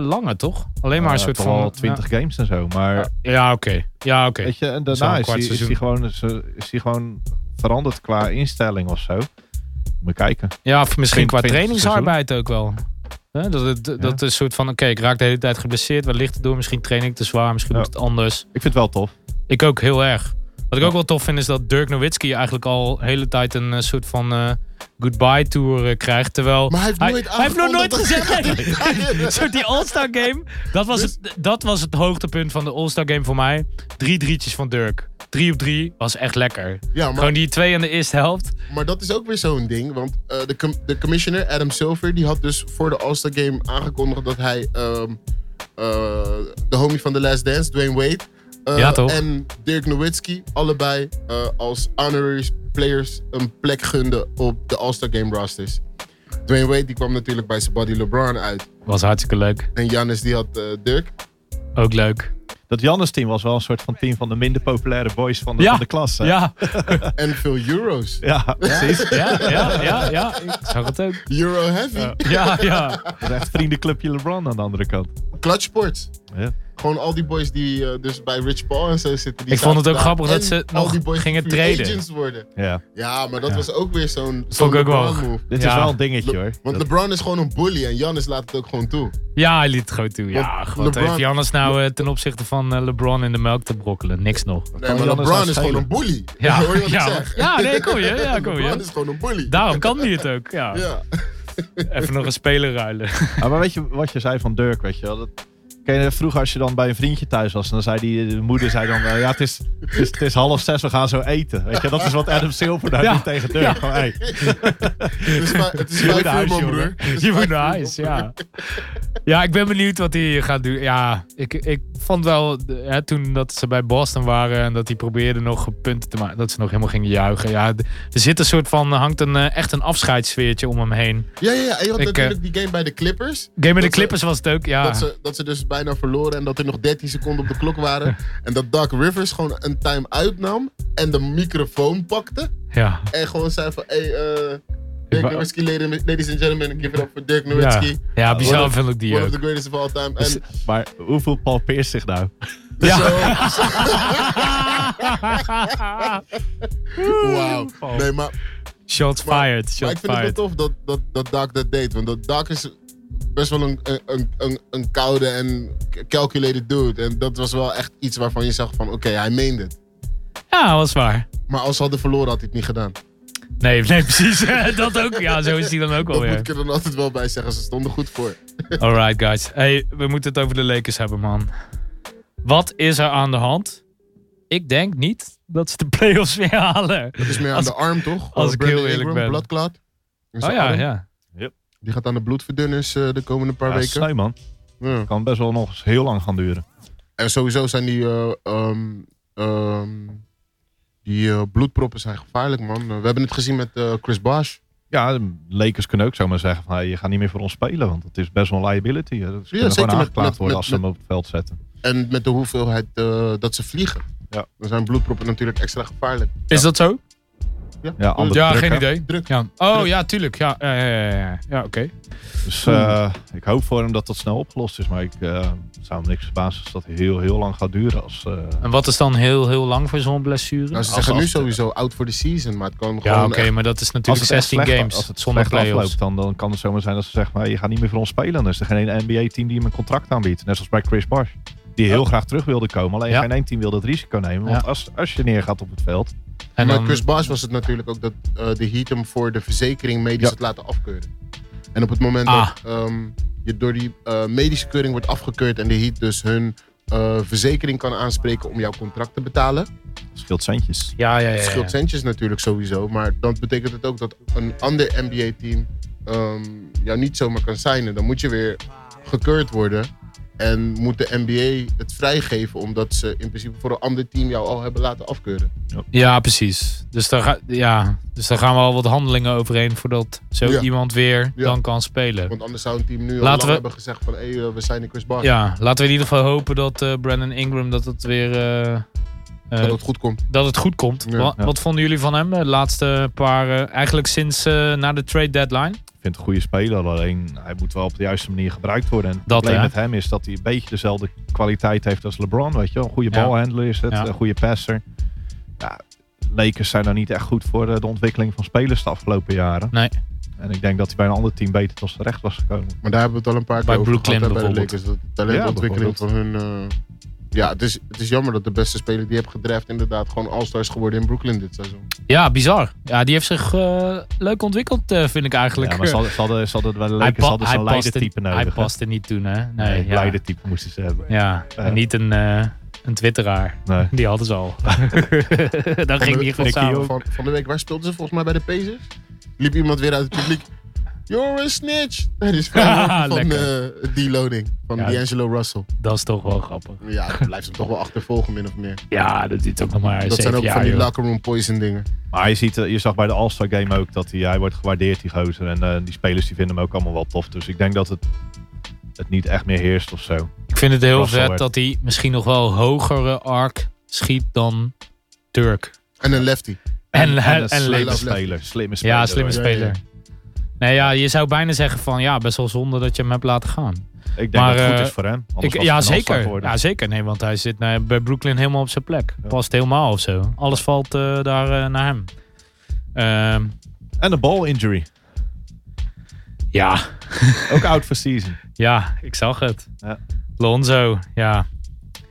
B: lange toch? Alleen maar een
C: Ja,
B: soort
C: toch
B: van...
C: wel 20 games en zo, maar...
B: Ja, ja, oké. Ja, oké.
C: Weet je, en
B: Zo'n
C: daarna is
B: kwart
C: die, is,
B: seizoen.
C: die gewoon, is, eh, is die gewoon veranderd qua instelling of zo. Moet je kijken.
B: Ja, of misschien qua
C: 20
B: trainingsarbeid ook wel. Hè, Dat, het, dat is een soort van, oké, ik raak de hele tijd geblesseerd. Waar ligt het door? Misschien train ik te zwaar, misschien
C: Ja.
B: moet het anders.
C: Ik vind het wel tof.
B: Ik ook heel erg. Wat ik ook wel tof vind is dat Dirk Nowitzki eigenlijk al de hele tijd een eh, soort van eh, goodbye tour eh, krijgt. Terwijl
A: Maar hij heeft nooit
B: hij heeft nog
A: aangekondigd
B: nooit
A: dat hij
B: gezegd.
A: gaat Dus-
B: nee. [LAUGHS]
A: retire.
B: Een soort die All-Star game. Dat was, het, dat was het hoogtepunt van de All-Star game voor mij. Drie drietjes van Dirk. Drie op drie was echt lekker.
A: Ja, maar,
B: Gewoon die twee in de eerste helft.
A: maar dat is ook weer zo'n ding. Want eh, de, com- de commissioner, Adam Silver, die had dus voor de All-Star Game aangekondigd dat hij ehm, eh, de homie van The Last Dance, Dwayne Wade, Eh,
B: Ja, toch?
A: En Dirk Nowitzki, allebei eh, als honorary players een plek gunden op de All-Star Game rosters. Dwayne Wade die kwam natuurlijk bij zijn buddy LeBron uit.
B: Was hartstikke leuk.
A: En Giannis die had eh, Dirk.
B: Ook leuk.
C: Dat Jannes team was wel een soort van team van de minder populaire boys van de,
B: Ja.
C: van de klas. hè?
B: Ja,
A: En veel euro's.
C: Ja, precies. [LAUGHS]
B: ja, ja, ja, ja. Ik zag het
A: [LAUGHS]
B: ook.
A: Euro heavy.
B: Ja, ja.
C: Dat is echt vriendenclubje LeBron aan de andere kant.
A: Clutch sports.
C: Ja.
A: Gewoon al die boys die eh, dus bij Rich Paul en zo zitten. Die
B: Ik vond het
A: zaten
B: ook grappig
A: daar.
B: dat
A: En
B: ze
A: al
B: nog
A: die boys die
B: gingen
A: free
B: traden.
A: agents worden.
C: Ja.
A: Ja, maar dat
B: Ja.
A: was ook weer zo'n zo'n
B: Vond ik ook wel.
A: LeBron move.
C: Dit
B: Ja.
C: is wel een dingetje
A: Le-
C: hoor.
A: Want
C: Dat-
A: LeBron is gewoon een bully en Giannis laat het ook gewoon toe.
B: Ja, hij liet het gewoon toe. Ja,
A: Want
B: wat
A: LeBron-
B: heeft Jannes nou eh, ten opzichte van eh, LeBron in de melk te brokkelen? Niks nog.
A: Nee, maar
C: Giannis nou
A: LeBron is gewoon
C: schelen?
A: een bully.
B: [LAUGHS] Ja,
A: [LAUGHS] Hoor je wat
B: ja,
A: ik zeg?
B: ja, nee, kom je, ja, kom je.
A: [LAUGHS] LeBron is gewoon een bully.
B: Daarom kan hij het ook. Ja.
A: Ja.
B: Even nog een speler
A: [LAUGHS]
B: ruilen.
C: Ah, maar weet je wat je zei van Dirk, weet je wel? Dat, ken je, vroeger als je dan bij een vriendje thuis was, en dan zei die de moeder zei dan, eh, ja het is, het, is, het is half zes, we gaan zo eten. Weet je, dat is wat Adam Silver daar
B: Ja.
C: doet tegen Dirk.
B: Ja.
C: Gewoon, hey,
A: Het is vijf- het
B: [LAUGHS]
A: is
C: Je moet
A: vijf
C: naar
A: uur,
C: huis,
A: man,
C: jongen.
A: broer. Het is
B: Je
A: vijf
B: moet
A: uur,
B: naar
A: man,
B: huis,
A: broer.
B: ja. Ja, ik ben benieuwd wat hij gaat doen. Ja, ik, ik vond wel hè, toen dat ze bij Boston waren en dat hij probeerde nog punten te maken, dat ze nog helemaal gingen juichen. Ja, d- er zit een soort van, hangt een, eh, echt een afscheidssfeertje om hem heen.
A: Ja, ja, ja. En je had
B: Ik, eh,
A: natuurlijk die game bij de Clippers.
B: Game met de
A: Dat ze-
B: Clippers was het ook, ja.
A: Dat, ze, dat ze dus bijna verloren en dat er nog 13 seconden op de klok waren. en dat Doc Rivers gewoon een time uitnam en de microfoon pakte.
B: ja.
A: En gewoon zei van, hey, eh,
B: wou-
A: Dirk Nowitzki, ladies ladies and gentlemen, give it up for Dirk Nowitzki.
B: Ja, bizar
A: One
B: vind ik die
A: One of
B: ook. Dus
A: the greatest of all time. En
C: maar hoeveel Paul Pierce zich nou?
B: Ja.
A: wauw. Nee, maar,
B: Shots
A: Maar-
B: fired,
A: maar
B: shots
A: ik vind het wel
B: fired.
A: tof dat, dat, dat Doc dat deed. Want dat Doc is best wel een, een- een, een, een koude en calculated dude. En dat was wel echt iets waarvan je zag van, oké, hij meende het.
B: Ja, was waar.
A: Maar als ze hadden verloren, had hij het niet gedaan.
B: Nee, nee, precies. [LAUGHS] dat ook. Ja, zo is hij dan ook
A: Dat moet
B: alweer.
A: ik er dan altijd wel bij zeggen. Ze stonden goed voor.
B: Alright, guys. Hey, we moeten het over de Lakers hebben, man. Wat is er aan de hand? Ik denk niet dat ze de playoffs weer halen.
A: Het is meer aan
B: Als-
A: de arm, toch?
B: als ik
A: Brandon
B: heel eerlijk ben.
A: Bladklaat. Is
B: Oh
A: de
B: ja,
A: arm.
B: ja.
A: Die gaat aan de bloedverdunners eh, de komende paar
C: Ja,
A: weken.
C: sneu, man.
A: Ja.
C: Kan best wel nog eens heel lang gaan duren.
A: En sowieso zijn die, eh, ehm, ehm, die eh, bloedproppen zijn gevaarlijk, man. We hebben het gezien met eh, Chris Bosh.
C: Ja, de Lakers kunnen ook zomaar zeggen van, hey, je gaat niet meer voor ons spelen, want het is best wel een liability. hè. Ze kunnen
A: zeker
C: gewoon
A: met-
C: aangeklaagd
A: met-
C: worden
A: met-
C: als ze hem op het veld zetten.
A: En met de hoeveelheid eh, dat ze vliegen.
C: Ja.
A: Dan zijn bloedproppen natuurlijk extra gevaarlijk.
B: Is dat zo?
A: Ja,
C: Ja, ander-
B: Ja,
C: druk,
B: geen
C: hè?
B: idee.
A: Druk.
B: Ja. Oh ja, tuurlijk. Ja, ja, ja, ja, ja. ja oké.
C: Dus eh, ik hoop voor hem dat dat snel opgelost is. Maar ik eh, zou me niks verbazen als dat heel, heel lang gaat duren. Als, eh,
B: En wat is dan heel, heel lang voor zo'n blessure?
A: Nou, ze
C: Als-
A: zeggen
C: als-
A: nu sowieso out for the season, maar het kan
B: ja,
A: gewoon...
B: oké,
A: echt-
B: maar dat is natuurlijk
C: echt
B: 16
C: slecht-
B: games
C: als het
B: zonder
C: slecht
B: playoffs.
C: afloopt, dan, dan kan het zomaar zijn dat ze zeggen, maar je gaat niet meer voor ons spelen. Dan is er geen ene NBA-team die hem een contract aanbiedt. Net zoals bij Chris Bosh. Die heel graag terug wilde komen. Alleen
B: Ja.
C: geen één team wilde het risico nemen. Want
B: Ja.
C: als, als je neergaat op het veld.
B: En
A: maar
B: dan,
A: Chris Bosh was het natuurlijk ook dat eh, de Heat hem voor de verzekering medisch
C: Ja.
A: had laten afkeuren. En op het moment
B: Ah.
A: dat ehm, je door die eh, medische keuring wordt afgekeurd en de Heat dus hun eh, verzekering kan aanspreken om jouw contract te betalen,
C: scheelt centjes.
B: ja, ja, ja,
A: Het
B: ja.
A: scheelt centjes natuurlijk sowieso. Maar dan betekent het ook dat een ander NBA-team ehm, jou niet zomaar kan signen. Dan moet je weer gekeurd worden. En moet de NBA het vrijgeven, omdat ze in principe voor een ander team jou al hebben laten afkeuren.
B: Ja, precies. Dus daar, ga- ja, dus daar gaan we al wat handelingen overheen voordat zo
A: Ja.
B: iemand weer
A: Ja.
B: dan kan spelen.
A: Want anders zou een team nu al
B: Laten
A: lang
B: we-
A: hebben gezegd van... hé, eh, we signen Chris Bosh.
B: Ja, laten we in ieder geval hopen dat eh, Brandon Ingram dat het weer eh, eh,
A: Dat het goed komt.
B: dat het goed komt.
A: Ja,
B: Wa- wat,
C: ja.
B: vonden jullie van hem? De laatste paar, eh, eigenlijk sinds eh, na de trade deadline.
C: Ik vind het een goede speler. Alleen hij moet wel op de juiste manier gebruikt worden. En het
B: Dat,
C: probleem
B: hè?
C: met hem is dat hij een beetje dezelfde kwaliteit heeft als LeBron. Weet je wel. Een goede
B: Ja.
C: balhandler is het.
B: Ja.
C: Een goede passer. Ja, Lakers zijn daar niet echt goed voor eh, de ontwikkeling van spelers de afgelopen jaren.
B: Nee.
C: En ik denk dat hij bij een ander team beter tot zijn recht was gekomen.
A: Maar daar hebben we het al een paar keer
B: Bij
A: over
B: Brooklyn
A: gehad, hè, bij de
B: bijvoorbeeld.
A: Lakers. Dat de talentontwikkeling van hun... eh, ja, het is, het is jammer dat de beste speler die je hebt gedraft... inderdaad gewoon all-stars geworden in Brooklyn dit seizoen.
B: Ja, bizar. Ja, die heeft zich eh, leuk ontwikkeld, eh, vind ik eigenlijk.
C: Ja, maar ze hadden, ze hadden, ze hadden, bij de
B: hij,
C: Lakers
B: pa-
C: hadden ze
B: hij
C: dus een
B: paste,
C: leidertype nodig.
B: hij
C: hè?
B: paste niet toen, hè? Nee,
C: Nee,
B: ja.
C: leidertype moesten ze hebben.
B: Ja,
C: Ja.
B: en niet een, eh, een twitteraar.
C: Nee.
B: Die hadden ze al. [LAUGHS] Dan ging die gewoon
A: Van-
B: samen.
A: Van, van de week, waar speelden ze volgens mij bij de Pacers? Liep iemand weer uit het publiek. You're a snitch. [LAUGHS] Dat
B: [LAUGHS]
A: is van, van
B: Ah, Lekker.
A: eh, die loading van
B: Ja.
A: D'Angelo Russell.
B: Dat is toch wel grappig.
A: Ja,
B: [LAUGHS]
A: dat blijft hem toch wel achtervolgen, min of meer.
B: Ja, dat is ook nog maar
A: dat zijn
B: zeven
A: ook
B: jaar,
A: van die
B: joh.
A: locker room poison dingen.
C: Maar je, ziet, eh, je zag bij de All-Star Game ook dat hij, hij wordt gewaardeerd, die gozer. En eh, die spelers die vinden hem ook allemaal wel tof. Dus ik denk dat het, het niet echt meer heerst of zo.
B: Ik vind het heel
C: Russell
B: vet
C: werd-
B: dat hij misschien nog wel hogere arc schiet dan Turk.
A: En een lefty.
B: En, eh, en,
C: een
B: en
C: slimme
B: Lewis.
A: Lewis.
C: speler. Slimme speler.
B: Ja, slimme
A: Ja,
C: hoor.
A: ja, ja.
B: speler. Nee, ja, je zou bijna zeggen van ja, best wel zonde dat je hem hebt laten gaan.
C: Ik denk
B: Maar,
C: dat het goed
B: eh,
C: is voor hem. Anders
B: Ik,
C: was
B: ja,
C: het een All-Star
B: zeker.
C: geworden.
B: ja, zeker. Nee, want hij zit eh, bij Brooklyn helemaal op zijn plek.
C: Ja.
B: Past helemaal of zo. Alles valt eh, daar eh, naar hem. Ehm,
C: En een ball injury.
B: ja,
C: Ook out for
B: [LAUGHS]
C: season.
B: ja, ik zag het.
C: Ja.
B: Lonzo, ja.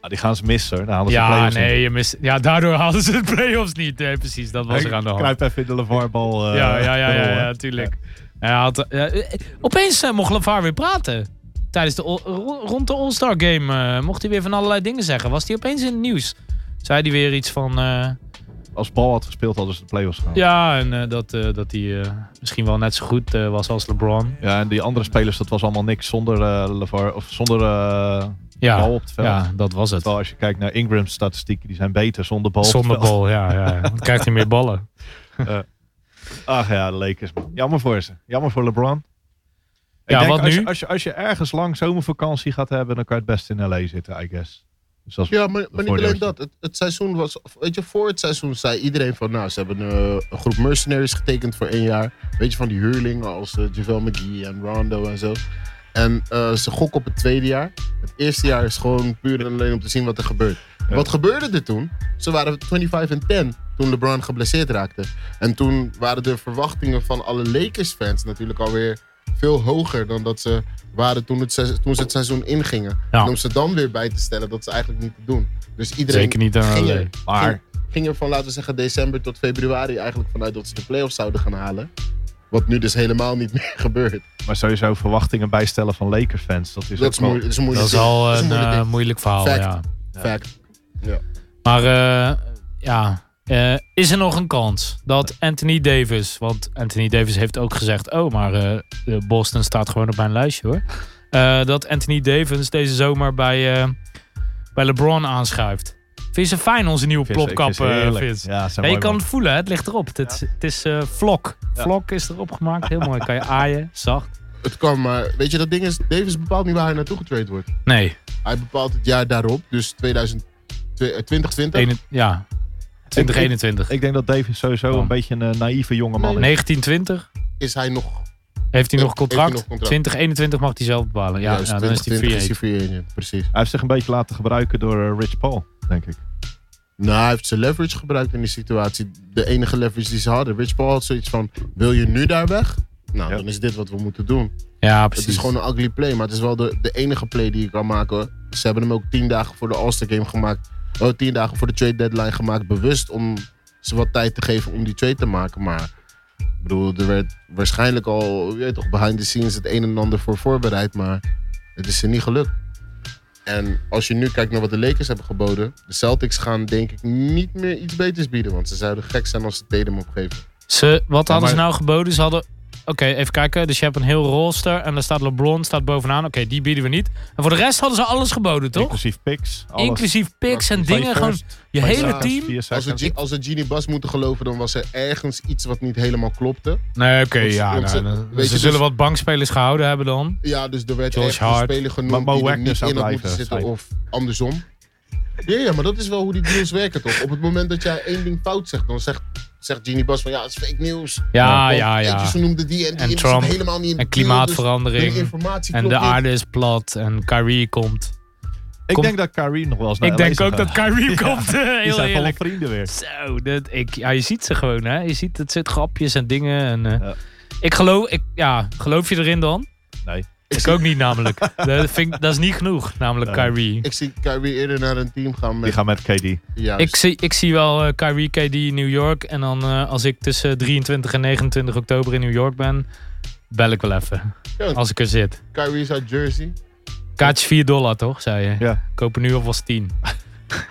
C: Ah, die gaan ze missen. hoor. Dan halen ze de
B: Ja,
C: playoffs in.
B: nee, je mist, ja, daardoor [LAUGHS] hadden ze de playoffs niet. Nee, precies, dat was
C: Ik
B: er aan de hand.
C: Kruip even in de LeVar-bal. eh,
B: ja, ja, ja, ja,
C: rollen.
B: ja, tuurlijk. Hij had, eh, eh, opeens eh, mocht LeVar weer praten. Tijdens de, All- ro- rond de All-Star Game eh, mocht hij weer van allerlei dingen zeggen. Was hij opeens in het nieuws? Zei hij weer iets van... eh,
C: Als bal had gespeeld, hadden ze de playoffs gehaald.
B: ja, en eh, dat, eh, dat hij eh, misschien wel net zo goed eh, was als LeBron.
C: Ja, en die andere spelers, dat was allemaal niks zonder eh LeVar, of zonder eh, bal
B: Ja,
C: op het veld.
B: ja dat was het.
C: Terwijl als je kijkt naar Ingram's statistieken, die zijn beter zonder bal. op het
B: Zonder
C: veld.
B: bal, ja. ja. ja. Dan krijgt hij meer ballen.
C: Ach ja, de Lakers. man. Jammer voor ze. Jammer voor LeBron. Ik
B: Ja,
C: denk,
B: wat
C: als Je,
B: nu?
C: als, je, als je ergens lang zomervakantie gaat hebben, dan kan je het best in L.A. zitten, I guess. Dus dat is-
A: Ja, maar, maar niet alleen
C: voordeeltje.
A: dat. Het, het seizoen was, weet je, voor het seizoen zei iedereen van, nou, ze hebben eh, een groep mercenaries getekend voor één jaar. Weet je, van die huurlingen als eh, JaVale McGee en Rondo en zo. En eh, ze gokken op het tweede jaar. Het eerste jaar is gewoon puur en alleen om te zien wat er gebeurt.
C: Ja.
A: Wat gebeurde er toen? Ze waren 25 en 10 toen LeBron geblesseerd raakte. En toen waren de verwachtingen van alle Lakers-fans natuurlijk alweer veel hoger dan dat ze waren toen, het se- toen ze het seizoen ingingen.
B: Ja.
A: En om ze dan weer bij te stellen, dat ze eigenlijk niet te doen. Dus iedereen
B: Zeker niet aan
A: ging,
B: LA.
A: er,
C: maar
A: ging er van, laten we zeggen, december tot februari eigenlijk vanuit dat ze de playoffs zouden gaan halen. Wat nu dus helemaal niet [LAUGHS] meer gebeurt. Dus
C: Maar sowieso verwachtingen bijstellen van Lakers-fans. Dat is,
A: Dat
C: ook
A: is,
C: wel-
A: moe- dat is een
B: Dat
A: moeilijk
B: is al
A: ding.
B: een
A: moeilijk
B: eh,
A: ding.
B: moeilijk verhaal,
A: Fact.
B: ja.
A: Fact.
B: Maar eh, ja, eh, is er nog een kans dat Anthony Davis... Want Anthony Davis heeft ook gezegd... Oh, maar eh, eh, Boston staat gewoon op mijn lijstje [LAUGHS] hoor. Eh, dat Anthony Davis deze zomer bij, eh, bij LeBron aanschuift. Vind je ze fijn, onze nieuwe
C: Ik vind ze- ik
B: plopkap,
C: vind ze
B: eh,
C: heerlijk.
B: Frits?
C: Ja, ze zijn
B: Ja, je
C: mooi,
B: kan
C: man.
B: het voelen, hè? het ligt erop. Het, het is eh vlok.
C: Ja.
B: Vlok is erop gemaakt, heel mooi.
C: [LAUGHS]
B: Kan je aaien, zacht.
A: Het kan, maar weet je, dat ding is, Davis bepaalt niet waar hij naartoe getraind wordt.
B: Nee,
A: Hij bepaalt het jaar daarop, dus 2000 twe- eh, 2020.
B: ene- ja, 2021.
C: Ik denk dat Davis sowieso
B: Oh.
C: een beetje een eh, naïeve jongeman is.
B: 1920
A: is hij nog...
B: Heeft hij nog
A: Heeft- heeft
B: contract?
A: hij nog contract?
B: 2021 mag hij zelf bepalen. Ja,
A: juist,
B: ja, dan is hij
A: 2020
B: free agent.
A: is hij free agent, precies.
C: Hij heeft zich een beetje laten gebruiken door eh, Rich Paul, denk ik.
A: Nou, hij heeft zijn leverage gebruikt in die situatie. De enige leverage die ze hadden. Rich Paul had zoiets van, wil je nu daar weg? Nou,
C: Ja.
A: dan is dit wat we moeten doen.
B: Ja,
A: Het
B: precies.
A: is gewoon een ugly play, maar het is wel de, de enige play die je kan maken. Ze hebben hem ook tien dagen voor de All-Star Game gemaakt. Oh, tien dagen voor de trade deadline gemaakt. Bewust om ze wat tijd te geven om die trade te maken. Maar ik bedoel, er werd waarschijnlijk al, je weet toch, behind the scenes het een en ander voor voorbereid. Maar het is ze niet gelukt. En als je nu kijkt naar wat de Lakers hebben geboden. De Celtics gaan denk ik niet meer iets beters bieden. Want ze zouden gek zijn als ze Tatum opgeven.
B: Ze, wat
C: Ja,
B: hadden ze
C: maar-
B: nou geboden? Ze hadden... Oké, even kijken. Dus je hebt een heel roster en daar staat LeBron staat bovenaan. Oké, die bieden we niet. En voor de rest hadden ze alles geboden, toch? Inclusief,
C: Inclusief picks. Alles.
B: picks en
C: Twee
B: dingen. Gewoon
C: first,
B: je
C: twee
B: hele
C: seconds,
B: team.
C: vier
A: Als we,
C: seconds.
A: G- als we Genie Bas moeten geloven, dan was er ergens iets wat niet helemaal klopte.
B: Nee, oké,
A: Want-
B: ja.
A: want ze-
B: nou, dan-
A: weet je,
B: ze
A: dus-
B: zullen wat bankspelers gehouden hebben dan.
A: Ja, dus er werd
B: Josh
A: echt een
B: Hart.
A: speler
C: Maar
A: genoemd
C: Mo
A: die er
C: Wagner
A: niet
C: zou
A: in had
C: blijven,
A: moeten zitten
C: zei
A: of andersom. Ja, ja, maar dat is wel hoe die deals werken toch? Op het moment dat jij één ding fout zegt, dan zegt, zegt Genie Bas van ja, het is fake nieuws.
B: Ja,
A: Want
B: ja,
A: eentje,
B: ja.
A: Ze noemden die en die
B: En
A: zit
B: Trump
A: helemaal niet in
B: En
A: de deal, dus de
B: klimaatverandering.
A: informatie
B: En
A: klopt
B: de
A: niet.
B: aarde is plat. En Kyrie komt.
C: Ik
B: Kom-
C: denk dat Kyrie nog wel eens naar
B: Ik
C: LA
B: denk
C: zou
B: ook
C: gaan.
B: dat [LAUGHS] Kyrie komt. eh,
C: Die
B: Heel
C: zijn
B: eerlijk.
C: volle vrienden weer.
B: Zo, dat, ik, ja, je ziet ze gewoon, hè? Je ziet, het zit grapjes en dingen. En, eh,
C: Ja.
B: Ik geloof, ik, ja, geloof je erin dan?
C: Nee.
B: Ik, ook niet,
C: [LAUGHS]
B: namelijk. dat, vind, ik- dat is niet genoeg, namelijk
C: Nee.
B: Kyrie. Ik,
A: Ik zie Kyrie eerder naar een team gaan
C: Die
A: met...
C: gaan met KD.
A: Juist.
B: zie, ik zie wel eh, Kyrie, KD in New York. En dan eh, als ik tussen 23 en 29 oktober in New York ben, bel ik wel even.
A: Ja, want
B: Als ik er zit.
A: Kyrie is uit Jersey.
B: Kaartje 4 dollar, toch, zei je?
C: Ja.
B: Kopen nu alvast 10. [LAUGHS]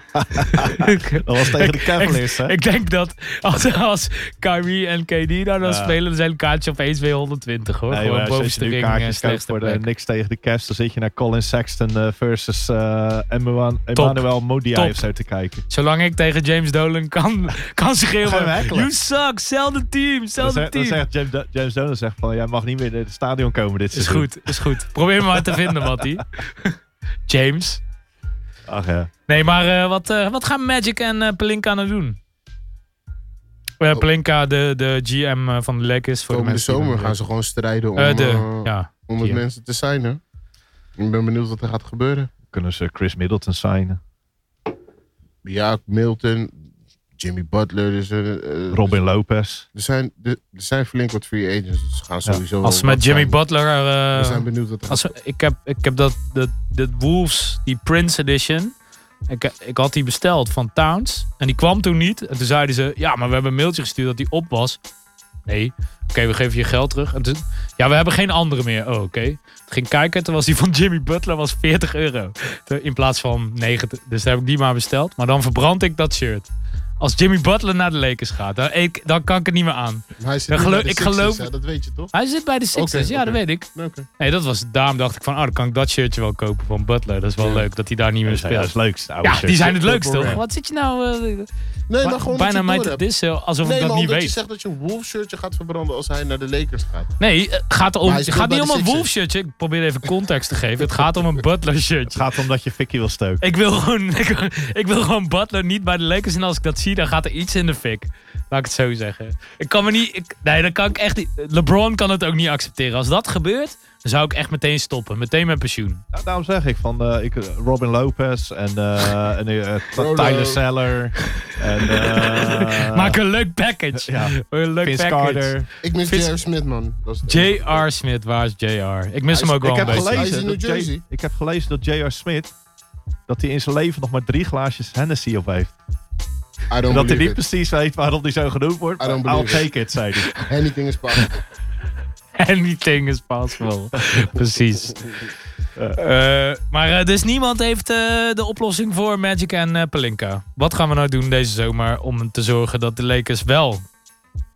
B: Ik-
C: Dat was tegen
B: [LAUGHS]
C: de
B: ik-
C: Cavaliers, hè?
B: Ik denk dat als, als Kyrie en KD daar dan
C: Ja.
B: spelen, dan zijn kaartjes opeens weer 120 hoor.
C: Nee,
B: Gewoon
C: maar als
B: bovenste
C: je nu
B: ring en
C: kaartjes koopt
B: slechtste
C: voor de
B: plek.
C: niks tegen de Cavs, dan zit je naar Colin Sexton eh, versus eh, Emmanuel, Emmanuel Modia
B: Top.
C: of zo te kijken.
B: Zolang ik tegen James Dolan kan, kan
C: Ga je hem
B: schreeuwen.
C: hackelen?
B: You suck, zelfde team,
C: Dan
B: zelfde
C: zegt, dan
B: team.
C: zegt James, Do- James Dolan zegt van, jij mag niet meer naar het stadion komen dit
B: Is
C: seizoen.
B: goed, is goed. Probeer me maar te
C: [LAUGHS]
B: vinden, Matty. James.
C: Ach ja.
B: Nee, maar eh, wat, eh, wat gaan Magic en eh, Pelinka nou doen?
A: Oh.
B: Eh, Pelinka, de, de GM eh, van de Lakers. Voor de
A: Komende
B: mensen die
A: zomer
B: dat
A: gaan ze gewoon strijden om,
B: niet weten. Eh, de-
A: eh,
B: ja.
A: om het
B: hier.
A: mensen te zijn. Hè? Ik ben benieuwd wat er gaat gebeuren.
C: Kunnen ze Chris Middleton signen?
A: Ja, Milton, Jimmy Butler. Dus, eh, eh,
C: Robin Lopez?
A: Er zijn, er, er zijn flink wat free agents, dus ze gaan sowieso. wel
B: Als ze met
A: wat
B: Jimmy
A: zijn.
B: Butler... eh,
A: We zijn benieuwd wat er
B: als, we- ik heb, ik heb dat, dat, dat Wolves, die Prince Edition. Ik, ik had die besteld van Towns. En die kwam toen niet. En toen zeiden ze, ja, maar we hebben een mailtje gestuurd dat die op was. Nee, oké, we geven je geld terug. En toen, ja, we hebben geen andere meer. Oh, oké. Toen ging ik kijken, toen was die van Jimmy Butler was 40 euro. Toen- In plaats van 90. Dus daar heb ik die maar besteld. Maar dan verbrand ik dat shirt. Als Jimmy Butler naar de Lakers gaat, dan, ik, dan kan ik het niet meer aan.
A: Maar hij zit
B: Ja,
A: niet
B: geloof-
A: bij
B: ik
A: de
B: geloof-
A: hè, dat weet je toch?
B: Hij zit bij de Sixers,
A: Oké,
B: ja,
A: oké.
B: dat weet ik.
A: Nee, oké.
B: Nee, dat was, daarom dacht ik van, oh, dan kan ik dat shirtje wel kopen van Butler. Dat is wel
A: Ja.
B: leuk dat hij daar niet meer
C: Dat zijn- dat
B: speelt.
C: is het leukste. oude
B: Ja,
C: shirt.
B: die zijn het leukst
A: Purple
B: toch?
A: Rain.
B: Wat zit je nou... eh,
A: nee
B: wa-
A: maar gewoon
B: bijna mij
A: dat je
B: te
A: door hebt.
B: dissen alsof
A: Nee,
B: ik
A: maar
B: dat niet
A: omdat je
B: weet.
A: zegt dat je een wolf shirtje gaat verbranden als hij naar de Lakers gaat.
B: Nee, eh, gaat om,
A: Maar hij
B: het
A: speelt
B: gaat niet om
A: bij de
B: een
A: Sixers.
B: Wolf shirtje. Ik probeer even context te geven. Het gaat om een Butler
C: Het
B: shirtje.
C: gaat om dat je Vicky wil stoken.
B: Ik wil, gewoon, [LAUGHS] ik, wil- ik wil gewoon Butler niet bij de Lakers. En als ik dat zie, dan gaat er iets in de fik. Laat ik het zo zeggen. Ik kan me niet... ik- nee, dat kan ik echt niet... LeBron kan het ook niet accepteren. Als dat gebeurt, dan zou ik echt meteen stoppen. Meteen met pensioen.
C: Nou, daarom zeg ik van eh, ik, Robin Lopez en, eh, en eh, T-
A: Rolo.
C: Tyler Seller. En, eh,
B: Maak een leuk package.
C: [LAUGHS] ja,
B: Een leuk
C: Vince
B: package.
C: Carter.
A: Ik mis
B: Vince-
A: J.R. Smith, man. Dat is het enige.
B: J.R. Smit, waar is J.R.? Ik mis
A: Hij
B: hem
A: is-
B: ook wel
C: Ik
B: een
C: heb,
A: Hij is
B: beetje.
A: in
C: gelezen
A: New
C: dat
A: Jersey.
C: J- ik heb gelezen dat J.R. Smith dat hij in zijn leven nog maar drie glaasjes Hennessy op heeft.
A: I don't
C: dat hij
A: believe
C: niet
A: it.
C: precies weet waarom hij zo genoemd wordt.
A: I don't
C: maar I'll
A: believe it.
C: take it, zei hij.
A: Anything is
B: [LAUGHS]
A: possible.
B: [LAUGHS] Anything is possible.
C: [LAUGHS]
B: Precies. Eh, maar eh, dus niemand heeft eh, de oplossing voor Magic en eh, Pelinka. Wat gaan we nou doen deze zomer om te zorgen dat de Lakers wel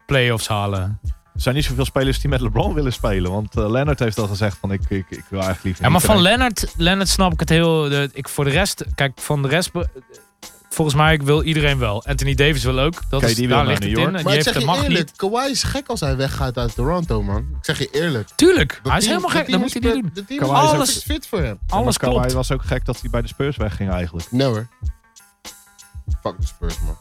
B: playoffs halen?
C: Er zijn niet zoveel spelers die met LeBron willen spelen. Want eh, Leonard heeft al gezegd van ik, ik, ik wil eigenlijk liever
B: Ja, maar
C: niet
B: van
C: erin.
B: Leonard, Leonard snap ik het heel. de- ik voor de rest, kijk, van de rest. be- Volgens mij wil iedereen wel. Anthony Davis wil ook. Dat
C: Oké,
B: is,
C: die wil
B: daar
C: naar
B: ligt het
C: New
B: in. En
C: York.
B: die
A: Maar ik
B: heeft
A: zeg
B: de
A: je
B: macht niet.
A: eerlijk, Kawhi is gek als hij weggaat uit Toronto, man. Ik zeg je eerlijk.
B: Tuurlijk,
A: Dat
B: hij is
A: team-
B: helemaal gek.
A: dat
B: Dan moet
A: team
B: hij
A: is
B: die
A: per-
B: doen.
A: Dat team
C: Kawhi
A: is
C: is
A: alles
B: ook-
A: fit voor hem.
C: Ja, maar
B: Alles
C: Kawhi
B: klopt.
C: was ook gek dat hij bij de Spurs wegging eigenlijk.
A: Nee hoor. Fuck de Spurs, man.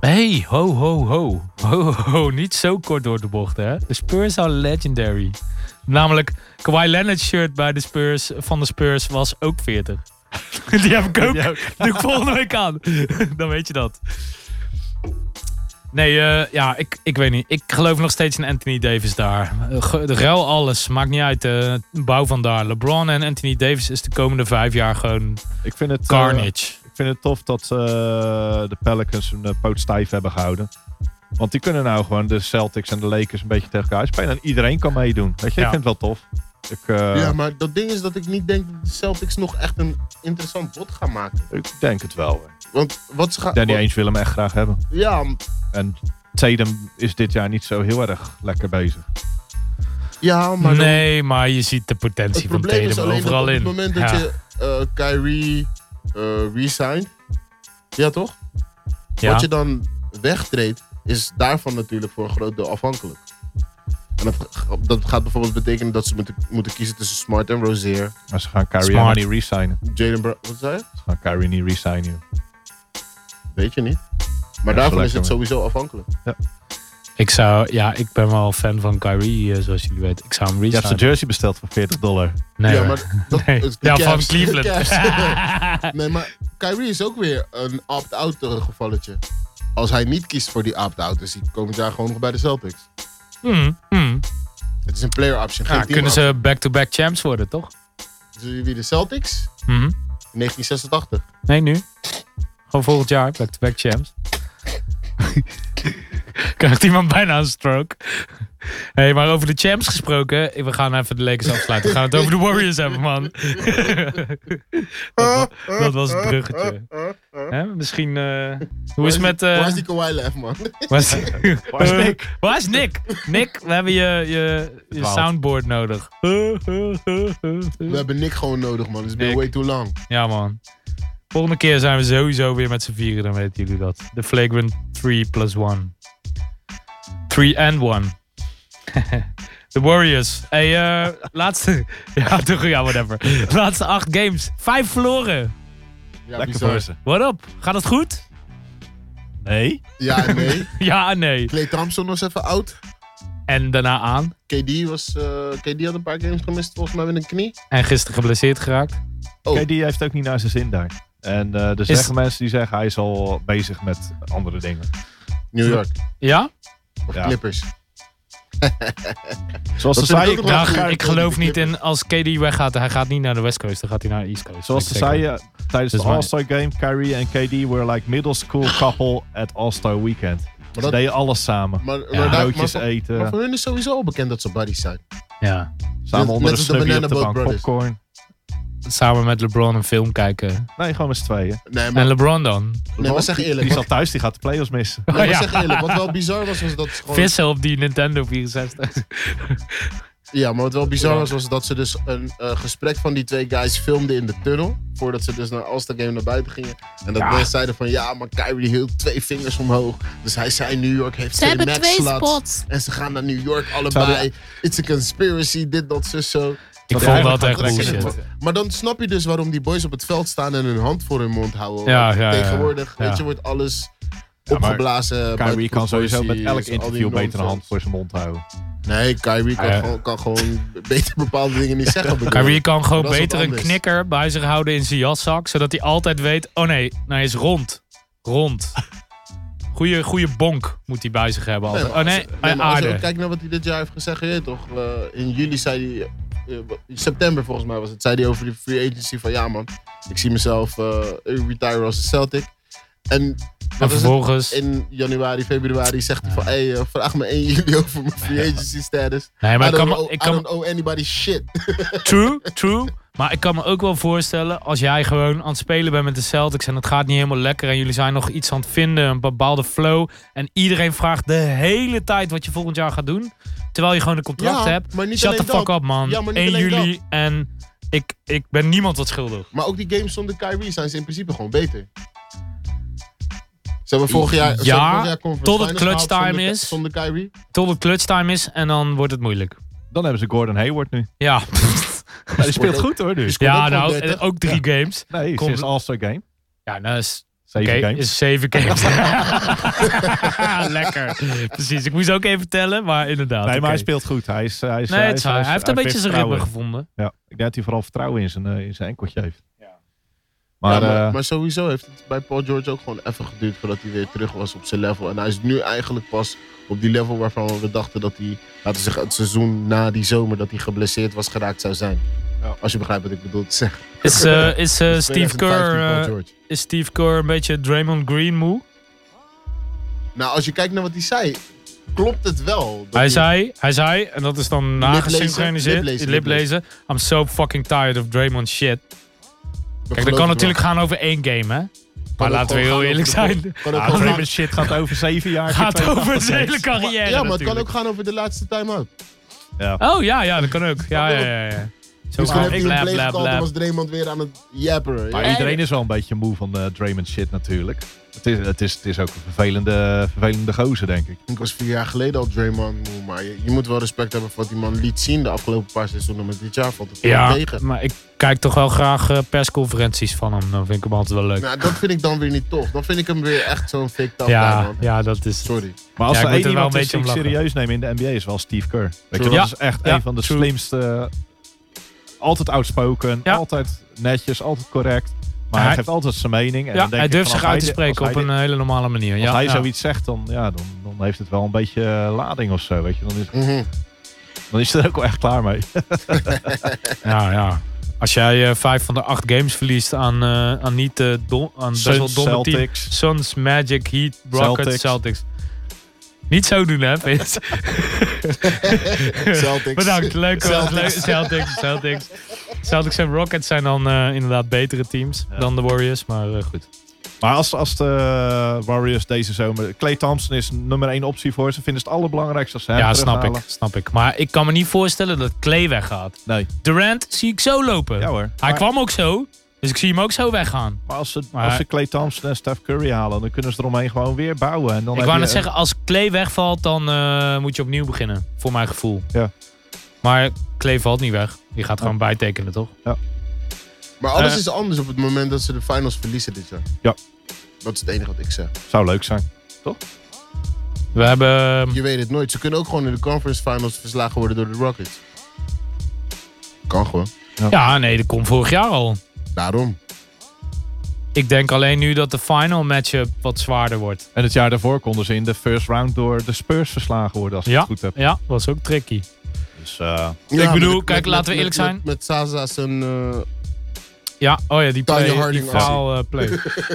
B: Hey, ho, ho, ho. Ho, ho, ho. Niet zo kort door de bocht, hè. De Spurs are legendary. Namelijk, Kawhi Leonard's shirt bij de Spurs, van de Spurs was ook 40. [LAUGHS] Die heb ik ook.
C: Ja.
B: Doe ik volgende week aan. [LAUGHS] Dan weet je dat. Nee, eh, ja, ik, ik weet niet. Ik geloof nog steeds in Anthony Davis daar. Eh, ge- De ruil alles, maakt niet uit. eh, bouw van daar. LeBron en Anthony Davis is de komende vijf jaar gewoon
C: Ik vind het... eh,
B: carnage.
C: Ik vind het tof dat eh, de Pelicans hun eh, poot stijf hebben gehouden. Want die kunnen nou gewoon de Celtics en de Lakers een beetje tegen elkaar spelen. En iedereen kan meedoen. Weet je,
B: Ja.
C: ik vind het wel tof. Ik, eh,
A: Ja, maar dat ding is dat ik niet denk dat de Celtics nog echt een interessant bod gaan maken.
C: ik denk het wel. hoor.
A: Want wat ze gaan...
C: Danny
A: wat-
C: Ainge wil hem echt graag hebben.
A: Ja, m-
C: En Tatum is dit jaar niet zo heel erg lekker bezig.
A: ja, maar... dan-
B: nee, maar je ziet de potentie
A: Het
B: van
A: probleem is
B: Tatum
A: alleen dat
B: overal
A: op het
B: in.
A: moment dat
B: Ja.
A: je eh, Kyrie eh resignt... Ja, toch?
B: Ja.
A: Wat je dan wegtreedt, is daarvan natuurlijk voor een groot deel afhankelijk. En dat, dat gaat bijvoorbeeld betekenen dat ze moeten, moeten kiezen tussen Smart en Rozier.
C: Maar ze gaan Kyrie
B: Smart.
C: helemaal niet resignen.
A: Jalen Brown, wat zei je?
C: Ze gaan Kyrie niet resignen. joh.
A: Weet je niet. Maar
C: Ja,
A: daarvan
C: zo
A: is het
C: lekker,
A: sowieso afhankelijk.
B: Ik zou, ja, ik ben wel fan van Kyrie, eh, zoals jullie weten. Ik zou hem
C: Je hebt
B: resignen.
C: zijn jersey besteld voor 40 dollar.
B: Nee,
A: ja,
B: hoor. [LAUGHS]
A: maar dat,
B: Nee.
A: het- de
B: ja, van
A: Cavs- [LAUGHS] de
B: Cleveland. [LAUGHS]
A: Cavs. nee, maar Kyrie is ook weer een opt-out gevalletje. Als hij niet kiest voor die opt-out, is hij komend jaar gewoon nog bij de Celtics.
B: Hmm, hmm.
A: Het is een player option. Geen
B: Ja,
A: team
B: kunnen ze back-to-back champs worden, toch?
A: option. Dus wie de Celtics?
B: Mhm.
A: In 1986. [LAUGHS]
B: Nee, nu. Gewoon volgend jaar, back-to-back champs. Krijgt iemand bijna een stroke. hey, maar over de champs gesproken. We gaan even de Lakers afsluiten. We gaan het over de Warriors hebben, man. [LAUGHS] dat, wa- dat was het bruggetje. Hè, misschien... eh, hoe is het met... eh,
A: Waar is die Kawhi Leonard,
B: [LAUGHS]
A: man?
B: waar is-
C: Waar is Nick?
B: [LAUGHS] Eh, waar is Nick? Nick, we hebben je, je, je
C: Dwaalt.
B: soundboard
A: [LAUGHS]
B: nodig.
A: We hebben Nick gewoon nodig, man. It's been
B: Nick.
A: way too long.
B: Ja, man. Volgende keer zijn we sowieso weer met z'n vieren, dan weten jullie dat. De Flagrant 3 plus 1. 3 and
C: [LAUGHS]
B: 1. De Warriors. Hey, eh, laatste. [LAUGHS] Ja, toch, ja, whatever. Laatste acht games. Vijf verloren.
A: Ja,
C: Lekker
A: bizar.
C: voor ze.
B: What up? Gaat het goed? [LAUGHS]
C: Nee.
A: Ja, en nee.
B: Ja, en nee.
A: Clay Thompson was even oud.
B: En daarna aan.
A: KD, was, eh, KD had een paar games gemist, volgens mij met een knie.
B: En gisteren geblesseerd geraakt.
A: Oh.
C: KD heeft het ook niet naar zijn zin daar. En eh, er zeggen mensen die zeggen hij is al bezig met andere dingen.
A: New York.
B: Ja?
A: Of
C: Ja.
A: Clippers.
C: Zoals
A: Dat vind
C: ze zei,
A: ik ook
C: ik-
A: wel
B: Nou,
A: goed.
B: ik geloof niet in als KD weggaat. Hij gaat niet naar de West Coast, dan gaat hij naar de East Coast.
C: zoals
B: Ik
C: ze
B: zeker.
C: zeiden tijdens
B: Dat
C: de
B: is waar.
C: All-Star Game, Kyrie en KD were like middle school couple at All-Star Weekend. Ze
A: dat-
C: deden alles samen.
A: Maar, maar,
B: Ja.
A: daar- maar
C: Broodjes
A: voor-
C: eten,
A: maar voor hun is sowieso al bekend dat ze buddies zijn.
B: Ja.
C: samen
A: net-
C: onder
A: net
C: de
A: als de
C: snubbie op
A: Banana
C: de
A: Boat
C: bank,
A: Brothers.
C: popcorn.
B: samen met LeBron een film kijken.
C: Nee, gewoon met z'n tweeën.
A: Nee, maar,
B: En LeBron dan?
A: nee, maar zeg eerlijk.
C: Die
A: Wat,
C: zat thuis, die gaat de playoffs missen.
A: nee, maar
B: Ja.
A: zeg eerlijk. Wat wel bizar was, was dat ze gewoon...
B: Vissen op die Nintendo
A: [LAUGHS]
B: 64.
A: Ja, maar wat wel bizar
B: Ja.
A: was, was dat ze dus een eh, gesprek van die twee guys filmden in de tunnel. Voordat ze dus naar All-Star Game naar buiten gingen. En dat
B: Ja.
A: mensen zeiden van, ja, maar Kyrie hield twee vingers omhoog. Dus hij zei, New York heeft
D: Ze hebben
A: twee max
D: twee
A: slots.
D: spots.
A: En ze gaan naar New York
C: Ze
A: allebei.
C: hadden-
A: It's a conspiracy, dit, dat, zus, zo.
B: Ik
C: Dat
B: vond
C: eigenlijk
B: dat echt
C: gaat lekker
B: bullshit.
C: zitten.
A: Maar dan snap je dus waarom die boys op het veld staan en hun hand voor hun mond houden.
B: Ja,
A: Want
B: ja, ja, ja.
A: tegenwoordig,
B: Ja.
A: weet je, wordt alles
C: maar
A: opgeblazen.
C: Kyrie
A: buiten
C: kan sowieso met
A: proporties, al
C: elk
A: die
C: interview beter een hand
A: nonsense.
C: voor zijn mond houden.
A: Nee, Kyrie kan,
B: Ah, ja.
A: gewoon, kan gewoon beter bepaalde dingen niet zeggen. bedoel ik.
B: Kyrie kan gewoon
A: Dat is wat
B: beter een
A: anders.
B: knikker bij zich houden in zijn jaszak. Zodat hij altijd weet, oh nee, nou hij is rond. Rond. Goeie, goeie bonk moet hij bij zich hebben. Altijd.
A: maar
B: oh
A: als-
B: nee,
A: nee, maar als je ook
B: aarde.
A: kijkt naar wat hij dit jaar heeft gezegd, je weet toch? eh, in juli zei hij, eh, eh, september volgens mij was het, zei hij over de free agency van ja man, ik zie mezelf eh, retire als een Celtic. En
B: En
A: wat is het?
B: vervolgens...
A: in januari, februari zegt hij van hey, eh, vraag me 1 juli over mijn free agency status.
B: Nee, maar
A: I
B: ik
A: don't,
B: kan, me-
A: owe,
B: ik
A: I
B: kan,
A: don't owe anybody
B: [LAUGHS]
A: shit.
B: True, true. Maar ik kan me ook wel voorstellen, als jij gewoon aan het spelen bent met de Celtics en het gaat niet helemaal lekker en jullie zijn nog iets aan het vinden, een bepaalde flow. En iedereen vraagt de hele tijd wat je volgend jaar gaat doen. Terwijl je gewoon een contract
A: Ja,
B: hebt.
A: maar niet
B: Shut the
A: alleen
B: fuck
A: dat.
B: up man.
A: Ja, maar niet
B: 1
A: alleen
B: juli en ik, ik ben niemand wat schuldig.
A: Maar ook die games zonder Kyrie zijn ze in principe gewoon beter. Ze hebben vorig jaar, ze
B: Ja,
A: hebben vorig jaar conference
B: tot het
A: finals gehaald
B: clutch time
A: zonder-
B: is.
A: Zonder Kyrie.
B: Tot het clutch time is en dan wordt het moeilijk.
C: Dan hebben ze Gordon Hayward nu.
B: Ja, [LAUGHS]
C: die speelt goed hoor nu.
A: Komt
B: ja
A: ook
B: nou,
A: gewoon 30.
B: ook drie games.
C: Nee,
B: Komt-
C: sinds All-Star Game.
B: Ja, nou is
C: Zeven
B: Oké,
C: games.
B: is zeven
A: [LAUGHS]
B: games. [LAUGHS] Lekker. Precies, ik moest ook even tellen, maar inderdaad.
C: Nee, maar hij
B: oké.
C: speelt goed. Hij, is, hij, is,
B: Nee, het is waar.
C: hij is-
B: Hij heeft een
C: hij
B: beetje zijn
C: vertrouwen.
B: ritme gevonden.
C: Ja, ik denk dat hij vooral vertrouwen in zijn, eh, in zijn enkeltje heeft.
A: Maar,
C: Maar, eh
A: maar, maar sowieso heeft het bij Paul George ook gewoon even geduurd voordat hij weer terug was op zijn level. En hij is nu eigenlijk pas op die level waarvan we dachten dat hij, laten we zeggen, het seizoen na die zomer, dat hij geblesseerd was geraakt zou zijn.
C: Ja.
A: Als je begrijpt wat ik bedoel [LAUGHS] te zeggen.
B: Is, eh, is, eh, Steve
A: 2015
B: Kerr, eh,
A: Paul George.
B: is Steve Kerr een beetje Draymond Green moe?
A: Nou, als je kijkt naar wat hij zei, klopt het wel. dat
B: Hij zei, hij zei, en dat is dan nagesynchroniseerd,
A: liplezen,
B: liplezen. I'm so fucking tired of Draymond shit.
A: dat
B: Kijk, dat
A: geloof
B: kan
A: ik
B: natuurlijk gaan over één game, hè? Maar
A: ook
B: laten we
A: gewoon
B: heel
A: gaan
B: eerlijk
A: over
B: [LAUGHS]
A: de-
B: zijn.
A: Kan ook
C: ah,
A: gewoon
C: Draymond shit gaat over zeven jaar.
B: Gaat
C: keer
B: over zijn
C: 82.
B: hele carrière
A: ja, maar het kan
B: natuurlijk.
A: ook gaan over de laatste time-out.
C: Ja.
B: Oh ja, ja, dat kan ook. Ja, ja, ja. ja. Zo
A: Dus toen
B: van,
A: heb je
B: blab,
A: een play
B: blab,
A: gekald en
B: blab.
A: was Draymond weer aan het japperen.
C: Maar
A: Ja.
C: iedereen is wel een beetje moe van eh Draymond shit natuurlijk. Het is, het is, het is ook een vervelende, vervelende gozer, denk ik.
A: Ik was vier jaar geleden al Draymond moe, maar je, je moet wel respect hebben voor wat die man liet zien de afgelopen paar seizoenen. Maar dit jaar valt het wel
B: Ja,
A: tegen.
B: maar ik kijk toch wel graag eh, persconferenties van hem. Dan vind ik hem altijd wel leuk.
A: Nou, dat vind ik dan weer niet tof. Dan vind ik hem weer echt zo'n fake tough guy,
B: ja,
A: man.
B: ja, dat is...
A: Sorry.
C: Maar als
B: Ja,
C: er
B: ik moet
C: één
B: er wel
C: iemand
B: een
C: is
B: beetje
C: die ik
B: om lachen.
C: serieus neem in de NBA is wel Steve Kerr. Weet je,
A: True.
C: dat
B: Ja,
C: is echt
B: ja,
C: een van de
B: true.
C: slimste. eh, Altijd outspoken,
B: Ja.
C: altijd netjes, altijd correct. Maar
B: Hij-
C: hij geeft altijd zijn mening. En
B: Ja,
C: dan denk
B: hij
C: ik
B: durft
C: van,
B: zich
C: als
B: uit te
C: hij dit-
B: spreken op
C: als hij
B: een
C: dit-
B: hele normale manier.
C: Als
B: ja,
C: hij
B: ja.
C: zoiets zegt, dan, ja, dan, dan heeft het wel een beetje eh, lading of zo. Weet je. Dan, is,
A: Mhm.
C: dan is hij er ook wel echt klaar mee. [LAUGHS]
B: Ja, ja. Als jij eh, vijf van de acht games verliest aan, eh, aan niet eh, dom, aan best wel
C: Suns,
B: domme teams.
C: Celtics.
B: Suns, Magic, Heat, Rockets, Celtics.
C: Celtics.
B: Niet zo doen, hè,
C: [LAUGHS]
B: Vince?
D: Celtics.
B: [LAUGHS] Bedankt, leuk hoor.
D: Celtics.
B: Leuk- Celtics, Celtics. Celtics en Rockets zijn dan eh, inderdaad betere teams dan de Warriors, maar eh, goed.
C: Maar als, als de Warriors deze zomer... Clay Thompson is nummer één optie voor ze. Vinden ze het allerbelangrijkste als ze hem
B: ja, snap ik,
C: terughalen.
B: snap ik. Maar ik kan me niet voorstellen dat Clay weggaat.
C: Nee.
B: Durant zie ik zo lopen.
C: Ja hoor.
B: Hij
C: Maar-
B: kwam ook zo, dus ik zie hem ook zo weggaan.
C: Maar als ze,
B: Maar-
C: als ze Clay Thompson en Steph Curry halen, dan kunnen ze eromheen gewoon weer bouwen. En dan
B: ik
C: heb
B: wou
C: je
B: net
C: een-
B: zeggen, als Clay wegvalt, dan eh, moet je opnieuw beginnen. Voor mijn gevoel.
C: Ja.
B: Maar Clay valt niet weg. Die gaat gewoon bijtekenen, toch?
A: Maar alles
B: Eh.
A: is anders op het moment dat ze de finals verliezen dit jaar.
C: Ja.
A: Dat is het enige wat ik zeg.
C: Zou leuk zijn.
B: We hebben... ehm,
A: Je weet het nooit. Ze kunnen ook gewoon in de conference finals verslagen worden door de Rockets. Kan gewoon.
B: Ja, nee, dat komt vorig jaar al.
A: Daarom.
B: Ik denk alleen nu dat de final matchup wat zwaarder wordt.
C: En het jaar daarvoor konden ze in de first round door de Spurs verslagen worden, als ik
B: Ja.
C: het goed heb.
B: Ja, was ook tricky.
C: Dus eh,
A: Ja,
B: bedoel,
A: met- met-
B: kijk,
A: met-
B: laten we
A: met-
B: eerlijk
A: met-
B: zijn.
A: Met, Saza
B: [LAUGHS]
A: zijn... eh,
B: Ja, oh ja, die
A: Tanya
B: play, die
A: Harding
B: faal eh, play.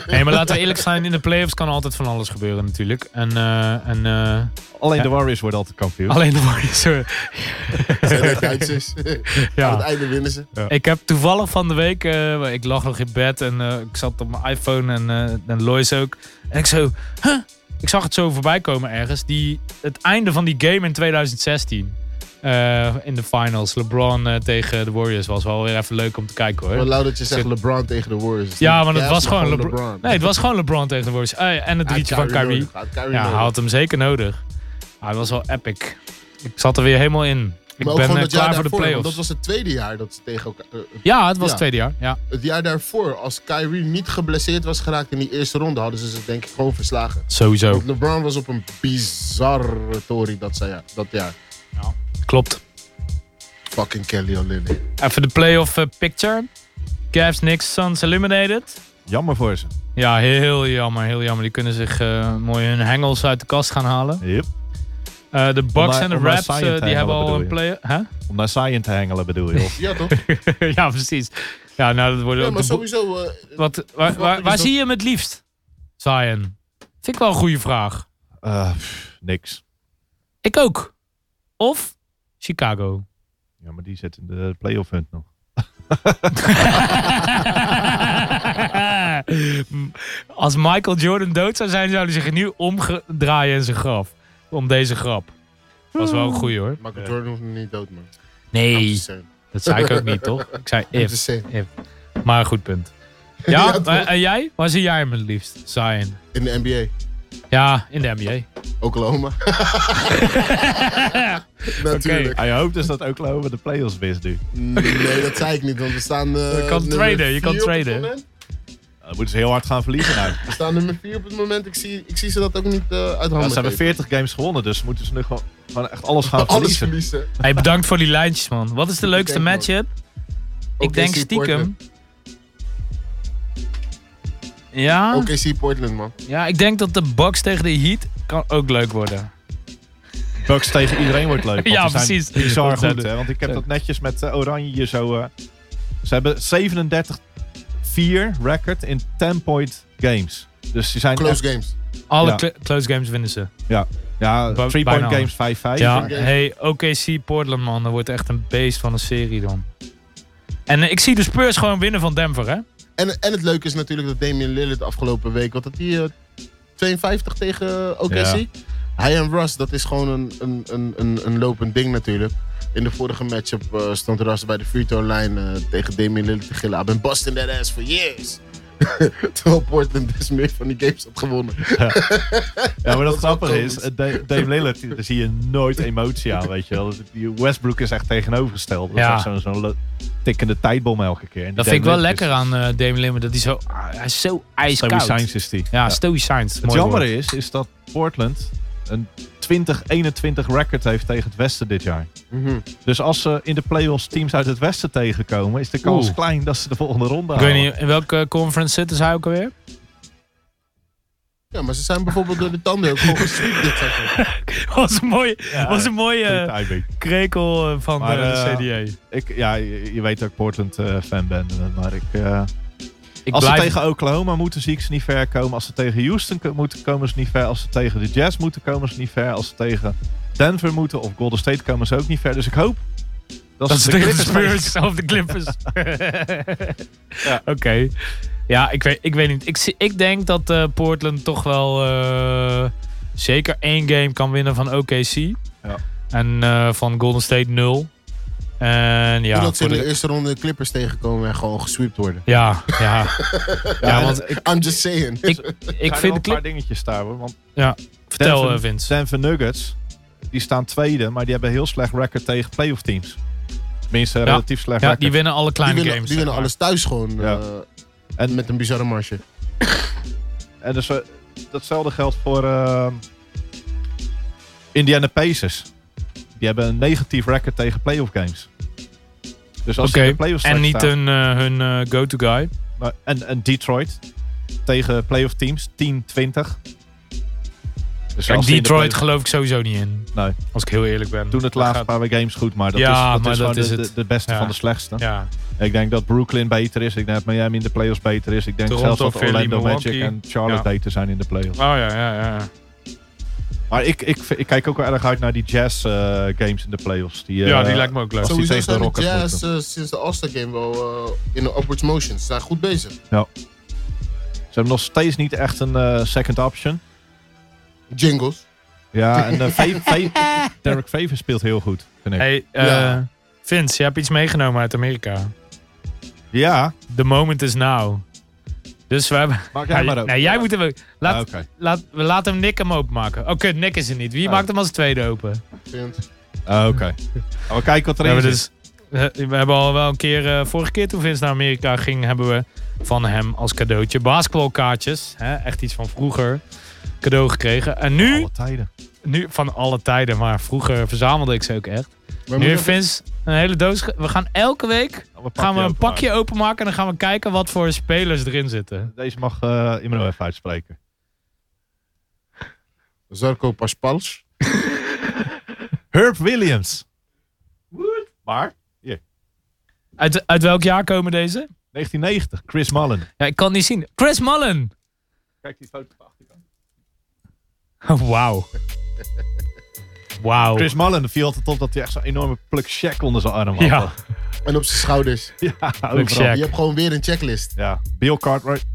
B: Nee, maar laten we eerlijk zijn, in de playoffs kan altijd van alles gebeuren natuurlijk. En, eh, en eh,
C: alleen
B: Ja.
C: de Warriors worden altijd kampioen.
B: alleen de Warriors. eh,
A: zijn de Duitsers. Aan het
B: ja.
A: einde winnen ze.
B: Ik heb toevallig van de week, eh, ik lag nog in bed en eh, ik zat op mijn iPhone en, eh en Lois ook. En ik zo, huh? ik zag het zo voorbij komen ergens. Die, het einde van die game in 2016. eh, in de finals. LeBron eh, tegen de Warriors was wel weer even leuk om te kijken hoor.
A: Wat lauw dat je zegt
B: Zit-
A: LeBron tegen de Warriors.
B: Ja,
A: Die
B: want het
A: Cavs,
B: was
A: maar
B: gewoon LeBron. Nee, het was gewoon LeBron tegen de Warriors. Eh, en het
A: Hij had
B: drietje van Kyrie.
A: nodig. Hij had Kyrie
B: Ja, hij
A: nodig.
B: had hem zeker nodig. Hij was wel epic. Ik zat er weer helemaal in. Ik
A: Maar ook
B: ben
A: gewoon
B: eh,
A: dat jaar
B: klaar voor de
A: daarvoor, want
B: playoffs.
A: Dat was het tweede jaar dat ze tegen elkaar... eh,
B: Ja, het was
A: Ja.
B: het tweede jaar. Ja.
A: Het jaar daarvoor, als Kyrie niet geblesseerd was geraakt in die eerste ronde, hadden ze ze denk ik gewoon verslagen.
B: Sowieso.
A: Want LeBron was op een bizarre tory dat, zij, dat jaar.
B: Klopt.
A: Fucking Kelly Olynyk.
B: Even de playoff eh, picture. Cavs, Knicks, Suns eliminated.
C: Jammer voor ze.
B: Ja, heel jammer, heel jammer. Die kunnen zich eh, mooi hun hengels uit de kast gaan halen.
C: Yep.
B: Eh, de Bucks
C: maar-
B: en de
C: om maar
B: Raps, eh,
C: saaien te
B: die hebben
C: hengelen,
B: al een play...
C: bedoel
B: Hè?
C: Om naar Zion te hengelen bedoel je. of-
A: Ja,
B: [LAUGHS]
A: toch?
B: ja, precies. Ja, nou, dat worden
A: Ja,
B: ook
A: maar
B: de Bo-
A: sowieso. eh,
B: Wat, waar waar,
A: is
B: waar
A: dat-
B: zie je hem het liefst, Zion? Vind ik wel een goede vraag.
C: [LAUGHS] Eh, pff, niks.
B: Ik ook. Of Chicago.
C: Ja, maar die zit in de playoff hunt nog.
B: Als Michael Jordan dood zou zijn, zou hij zich nu omdraaien in zijn graf. Om deze grap. Was wel een goeie hoor.
A: Michael Jordan hoeft niet dood, man. I'm
B: Nee,
A: just saying.
B: dat zei ik ook niet toch? Ik zei
A: I'm
B: if.
A: just saying.
B: Maar een goed punt.
A: [LAUGHS] Ja,
B: Ja,
A: toch?
B: maar- en jij? Waar zie jij hem het liefst, Zion?
A: In de NBA.
B: Ja, in de NBA. [LAUGHS]
A: Oklahoma. [LAUGHS] Natuurlijk.
C: Hij hoopt dus dat Oklahoma de playoffs wist nu.
A: Nee, dat zei ik niet, want we staan. eh,
B: Je kan
A: nummer
B: traden, je
A: vier
B: kan
A: op het
B: traden.
A: moment.
C: Dan moeten ze heel hard gaan verliezen [LAUGHS] nou.
A: We staan nummer 4 op het moment. Ik zie, ik zie ze dat ook niet eh uit
C: Ja,
A: handen.
C: ze hebben
A: geven.
C: 40 games gewonnen, dus moeten ze nu gewoon, gewoon echt alles gaan
A: Alles
C: verliezen.
A: verliezen.
B: Hey, bedankt voor die lijntjes, man. Wat is de leukste
A: denk ook.
B: matchup? Ik
A: OKC
B: denk stiekem. Ja,
A: Portland. OKC Portland, man.
B: ja, ik denk dat de Bucks tegen de Heat kan ook leuk worden.
C: Bucks tegen iedereen wordt leuk. want
B: [LAUGHS] Ja,
C: ze zijn
B: precies.
C: Bizar
B: Dat zijn
C: goed,
B: de-
C: hè? Want ik heb
B: zijn-
C: dat netjes met eh, Oranje hier zo. eh, ze hebben 37-4 record in 10-point games. Dus ze zijn echt-
A: Close games.
B: Alle
C: Ja.
B: cl- close games winnen ze.
C: ja,
B: Ba-
C: 3-point
B: bijna.
C: games 5-5.
B: Ja,
A: games.
B: hey, OKC Portland, man. Dat wordt echt een beest van een serie dan. En eh, ik zie de Spurs gewoon winnen van Denver, hè?
A: En, en het leuke is natuurlijk dat Damian Lillard afgelopen week, wat had hij, eh, 52 tegen OKC?
C: Ja.
A: Hij en Russ, dat is gewoon een, een, een, een, een lopend ding natuurlijk. In de vorige matchup eh, stond Russ bij de free throw line eh, tegen Damian Lillard te gillen. I've been busting that ass for years. [LAUGHS] Terwijl Portland dus meer van die games had gewonnen.
C: Ja, maar dat,
A: is wel
C: grappige is,
A: komisch.
C: eh, Da- Dave Lillard, die- daar zie je nooit emotie aan, weet je wel. Dus Die Westbrook is echt tegenovergesteld. Dat
B: Ja.
C: is echt zo'n zo'n le- tikkende tijdbom elke keer. En die
B: Dat vind ik
C: Dame
B: wel
C: Lillard
B: lekker
C: is-
B: aan eh Damian Lillard. Dat hij zo, ah, hij is zo
C: Stoïcijns
B: ijskoud.
C: is die.
B: Ja, stoïcijns.
C: Het
B: Mooi
C: jammer
B: woord.
C: is, is dat Portland een 20-21 record heeft tegen het Westen dit jaar.
A: Mhm.
C: Dus als ze in de playoffs teams uit het Westen tegenkomen, is de kans
B: Oeh.
C: klein dat ze de volgende ronde
B: Ik
C: halen.
B: weet niet, in welke conference zitten zij ook alweer?
A: Ja, maar ze zijn bijvoorbeeld door de tanden ook gewoon gesweept dit seizoen.
B: [LAUGHS] was een mooie, was een mooie eh,
C: Goeie timing.
B: krekel eh, van
C: Maar,
B: de
C: eh,
B: CDA.
C: Ik, ja, je, je weet dat ik Portland eh, fan ben, eh, maar ik, eh,
B: ik
C: als
B: blijf...
C: ze tegen Oklahoma moeten, zie ik ze niet ver komen. Als ze tegen Houston ko- moeten, komen ze niet ver. Als ze tegen de Jazz moeten, komen ze niet ver. Als ze tegen Denver moeten of Golden State, komen ze ook niet ver. Dus ik hoop
B: Dat
C: dat, ze
B: is
C: de
B: tegen de
C: Clippers
B: [LAUGHS]
C: tegen-
B: Spurs of de Clippers.
C: Ja.
B: Oké. Ja, ik weet, ik weet niet. Ik, zie- ik denk dat eh, Portland toch wel eh, zeker één game kan winnen van OKC. En eh, van Golden State 0. En ja,
A: Totdat ze
B: voor
A: in
B: de-
A: de eerste ronde de Clippers tegenkomen en gewoon gesweept worden.
B: ja,
C: [LAUGHS]
B: ja. ja, want
A: I'm just saying.
B: ik
C: zijn er wel
B: vind de
C: een paar
B: Clippers...
C: dingetjes daar hoor. Want
B: Vertel,
C: Denver-
B: eh, Vince.
C: Denver Nuggets, die staan tweede, maar die hebben een heel slecht record tegen playoff teams. Tenminste, een
B: Ja.
C: relatief slecht
B: Ja,
C: record.
B: die winnen alle
A: Die
B: kleine
A: winnen,
B: games.
A: die winnen
B: zeg maar.
A: alles thuis gewoon.
C: Ja.
A: eh,
C: En-
A: met een bizarre marge.
C: En dus, eh, datzelfde geldt voor ehm, Indiana Pacers. Die hebben een negatief record tegen playoff games. Dus als ze
B: Oké,
C: in de playoffs
B: En
C: straks
B: niet
C: staan,
B: hun, eh, hun eh, go-to guy.
C: maar- en, en Detroit tegen playoff teams 10, 20. Dus
B: Kijk,
C: als ze in de
B: Detroit
C: playoff-
B: geloof ik sowieso niet in.
C: Nee.
B: Als ik heel eerlijk ben.
C: doen het
B: Dat
C: laatste
B: gaat-
C: paar games goed, maar dat
B: Ja,
C: is, dat
B: maar
C: is
B: dat
C: gewoon
B: is
C: de,
B: het.
C: de- de beste
B: Ja.
C: van de slechtste.
B: Ja,
C: Ik denk dat Brooklyn beter is. Ik denk dat Miami in de playoffs beter is. Ik denk
B: Toronto,
C: zelfs dat
B: Philly,
C: Orlando Magic
B: Milwaukee.
C: en Charlotte
B: Ja.
C: beter zijn in de playoffs.
B: oh ja, ja, ja.
C: Maar ik, ik, ik kijk ook wel erg uit naar die Jazz eh, games in de playoffs. Die, eh,
B: ja, die lijkt me ook leuk.
C: Als die
A: Sowieso
C: tegen de
A: zijn de
C: Rockets
A: Jazz eh, sinds de All-Star Game wel eh, in de upwards motion. Ze zijn goed bezig.
C: Ze hebben nog steeds niet echt een eh, second option.
A: Jingles.
C: Ja,
B: [LAUGHS]
C: en eh, Fa- Fa- Derek Favors speelt heel goed, vind ik.
B: Hey, eh,
A: Ja.
B: Vince, je hebt iets meegenomen uit Amerika.
C: Ja,
B: The moment is now. Dus we hebben... [LAUGHS]
C: maak jij maar ook.
B: nee, jij moet hem... ook- Laat,
C: Ah, oké.
B: laat, we laten hem Nick hem openmaken. Oh, kut, Nick is er niet. Wie
C: Oh.
B: maakt hem als tweede open?
A: Vindt.
C: Ah,
B: [LAUGHS]
C: oké. Gaan we kijken wat
B: We
C: er in
B: hebben,
C: zit.
B: dus, we we hebben al wel een keer... eh, vorige keer toen Vince naar Amerika ging... hebben we van hem als cadeautje basketbalkaartjes. Hè, echt iets van vroeger. Cadeau gekregen. En dus nu...
C: Alle tijden.
B: nu van alle tijden, maar vroeger verzamelde ik ze ook echt. nu
A: Maar moet
B: heeft
A: dat-
B: Vince een hele doos. ge- We gaan elke week gaan we een pakje openmaken en dan gaan we kijken wat voor spelers erin zitten.
C: Deze mag eh Imre even uitspreken.
A: Zarko Paspals.
C: Herb Williams. Maar?
B: Uit, uit welk jaar komen deze?
C: 1990, Chris Mullen.
B: Ja, ik kan het niet zien. Chris Mullen!
C: Kijk die foto van achterkant.
B: Oh, Wauw. Wauw.
C: Chris Mullen viel altijd op dat hij echt zo'n enorme pluk check onder zijn arm had.
B: Ja.
A: En op zijn schouders.
C: [LAUGHS] ja
B: Pluk
C: overal.
B: Shaq.
A: Je hebt gewoon weer een checklist.
C: Ja, Bill Cartwright,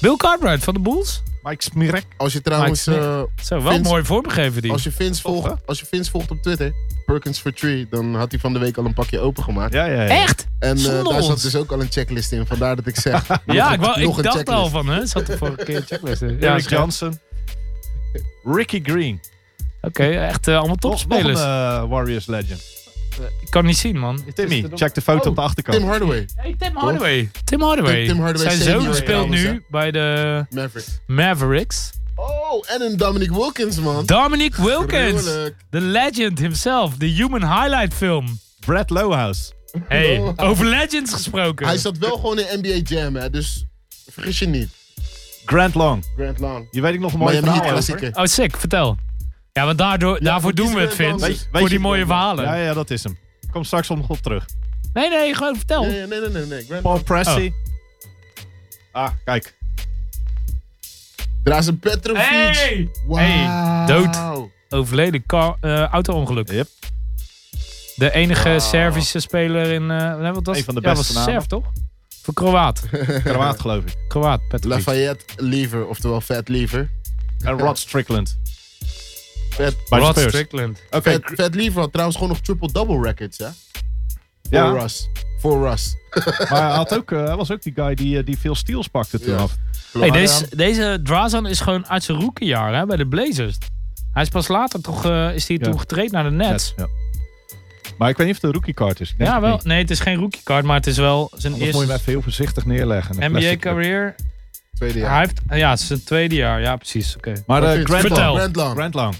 B: Bill Cartwright van de Bulls?
C: Mike Smirek.
A: Als je trouwens...
B: Mike Smith.
A: eh,
B: Zo, wel
A: Vince-
B: mooi voorbegeven die.
A: als, je Vince
C: Toch,
A: volgt, als je Vince volgt op Twitter... Perkins for Tree. Dan had hij van de week al een pakje opengemaakt.
C: Ja, ja, ja.
B: Echt?
A: En eh,
B: Zonder
A: daar zat
B: ons.
A: dus ook al een checklist in. Vandaar dat ik
B: [LAUGHS]
A: zeg...
B: Ja, ik, wou,
A: nog
B: ik
A: een
B: dacht
A: checklist.
B: al van, hè? Zat er vorige keer een checklist in. Ja,
C: Eric
B: is-
C: Johnson. Ricky Green.
B: Oké, echt eh, allemaal
C: Nog- Nog een
B: topspelers.
C: eh, Warriors legend.
B: Ik kan niet zien, man.
C: Timmy, check de foto
A: Oh,
C: op de achterkant.
A: Tim Hardaway.
B: Hey, Tim Hardaway. Tim Hardaway.
A: Tim- Tim Hardaway
B: Zijn
A: senior
B: zoon speelt
A: trouwens,
B: nu bij de
A: Mavericks.
B: Mavericks.
A: Oh, en een Dominic Wilkins, man.
B: Dominic Wilkins.
A: Gruwelijk.
B: The legend himself. De human highlight film.
C: Brad Lowhouse. [LAUGHS]
B: Hey,
A: Oh.
B: over legends gesproken.
A: Hij zat wel gewoon in NBA Jam, hè. Dus vergis je niet.
C: Grant Long.
A: Grant Long.
C: Je weet ik nog een mooie
A: Miami Heat
C: verhaal over.
A: klassieker.
B: Oh, sick. Vertel. Ja, want daardoor, daarvoor doen we het,
A: kiezen we
B: Vince.
A: dan-
C: Weet- weet
B: voor
C: je-
B: die mooie verhalen.
C: Ja, ja, dat is hem. Kom straks om nog op terug.
B: Nee, nee, gewoon vertel.
A: Nee, nee, nee, nee. nee. Grant
C: Paul Pressey. Ah, kijk.
A: Drazen Petrovic.
B: Hey!
A: Wow.
B: Hey, dood. Overleden car- eh, auto-ongeluk.
C: Yep.
B: De enige
A: Wow.
B: Servische speler in... eh, nee, wat was,
C: Een van de
B: ja,
C: beste
B: was
C: namen.
B: Serv, toch? Voor
C: [LAUGHS]
B: Kroaat.
C: Krawaat, geloof ik.
B: Kroaat, Petrovic.
A: Lafayette Lever, oftewel Fat Lever.
C: En Rod Strickland.
A: Fat,
C: Bij de
B: Rod
C: Spurs.
B: Strickland.
C: Oké.
A: Fat,
C: gr-
A: Fat Lever had trouwens gewoon nog triple-double records, hè?
C: Ja,
A: Voor Russ. Voor Russ.
C: maar hij, had ook, eh, hij was ook die guy die, eh, die veel steals pakte toen
A: Ja.
C: af.
B: Hey,
A: Klopt.
B: deze, deze Drazan is gewoon uit zijn rookiejaar hè, bij de Blazers. Hij is pas later toch eh, is hij
C: Ja.
B: toen getraind naar de Nets.
C: Ja. Maar ik weet niet of het een rookie card is. Ik denk
B: Ja,
C: het
B: wel.
C: niet.
B: Nee, het is geen rookiecard, maar het is wel zijn
C: Anders moet je hem
B: eerste
C: even heel voorzichtig neerleggen. Een plastic cup.
B: NBA-carrière.
A: Tweede
B: Hij
A: jaar.
B: heeft, ja, het is zijn tweede jaar. Ja, precies. Oké.
C: Maar eh,
A: Wat vind je?
C: Grant
B: Vertel.
C: Lang.
A: Grant Lang.
C: Grant Lang.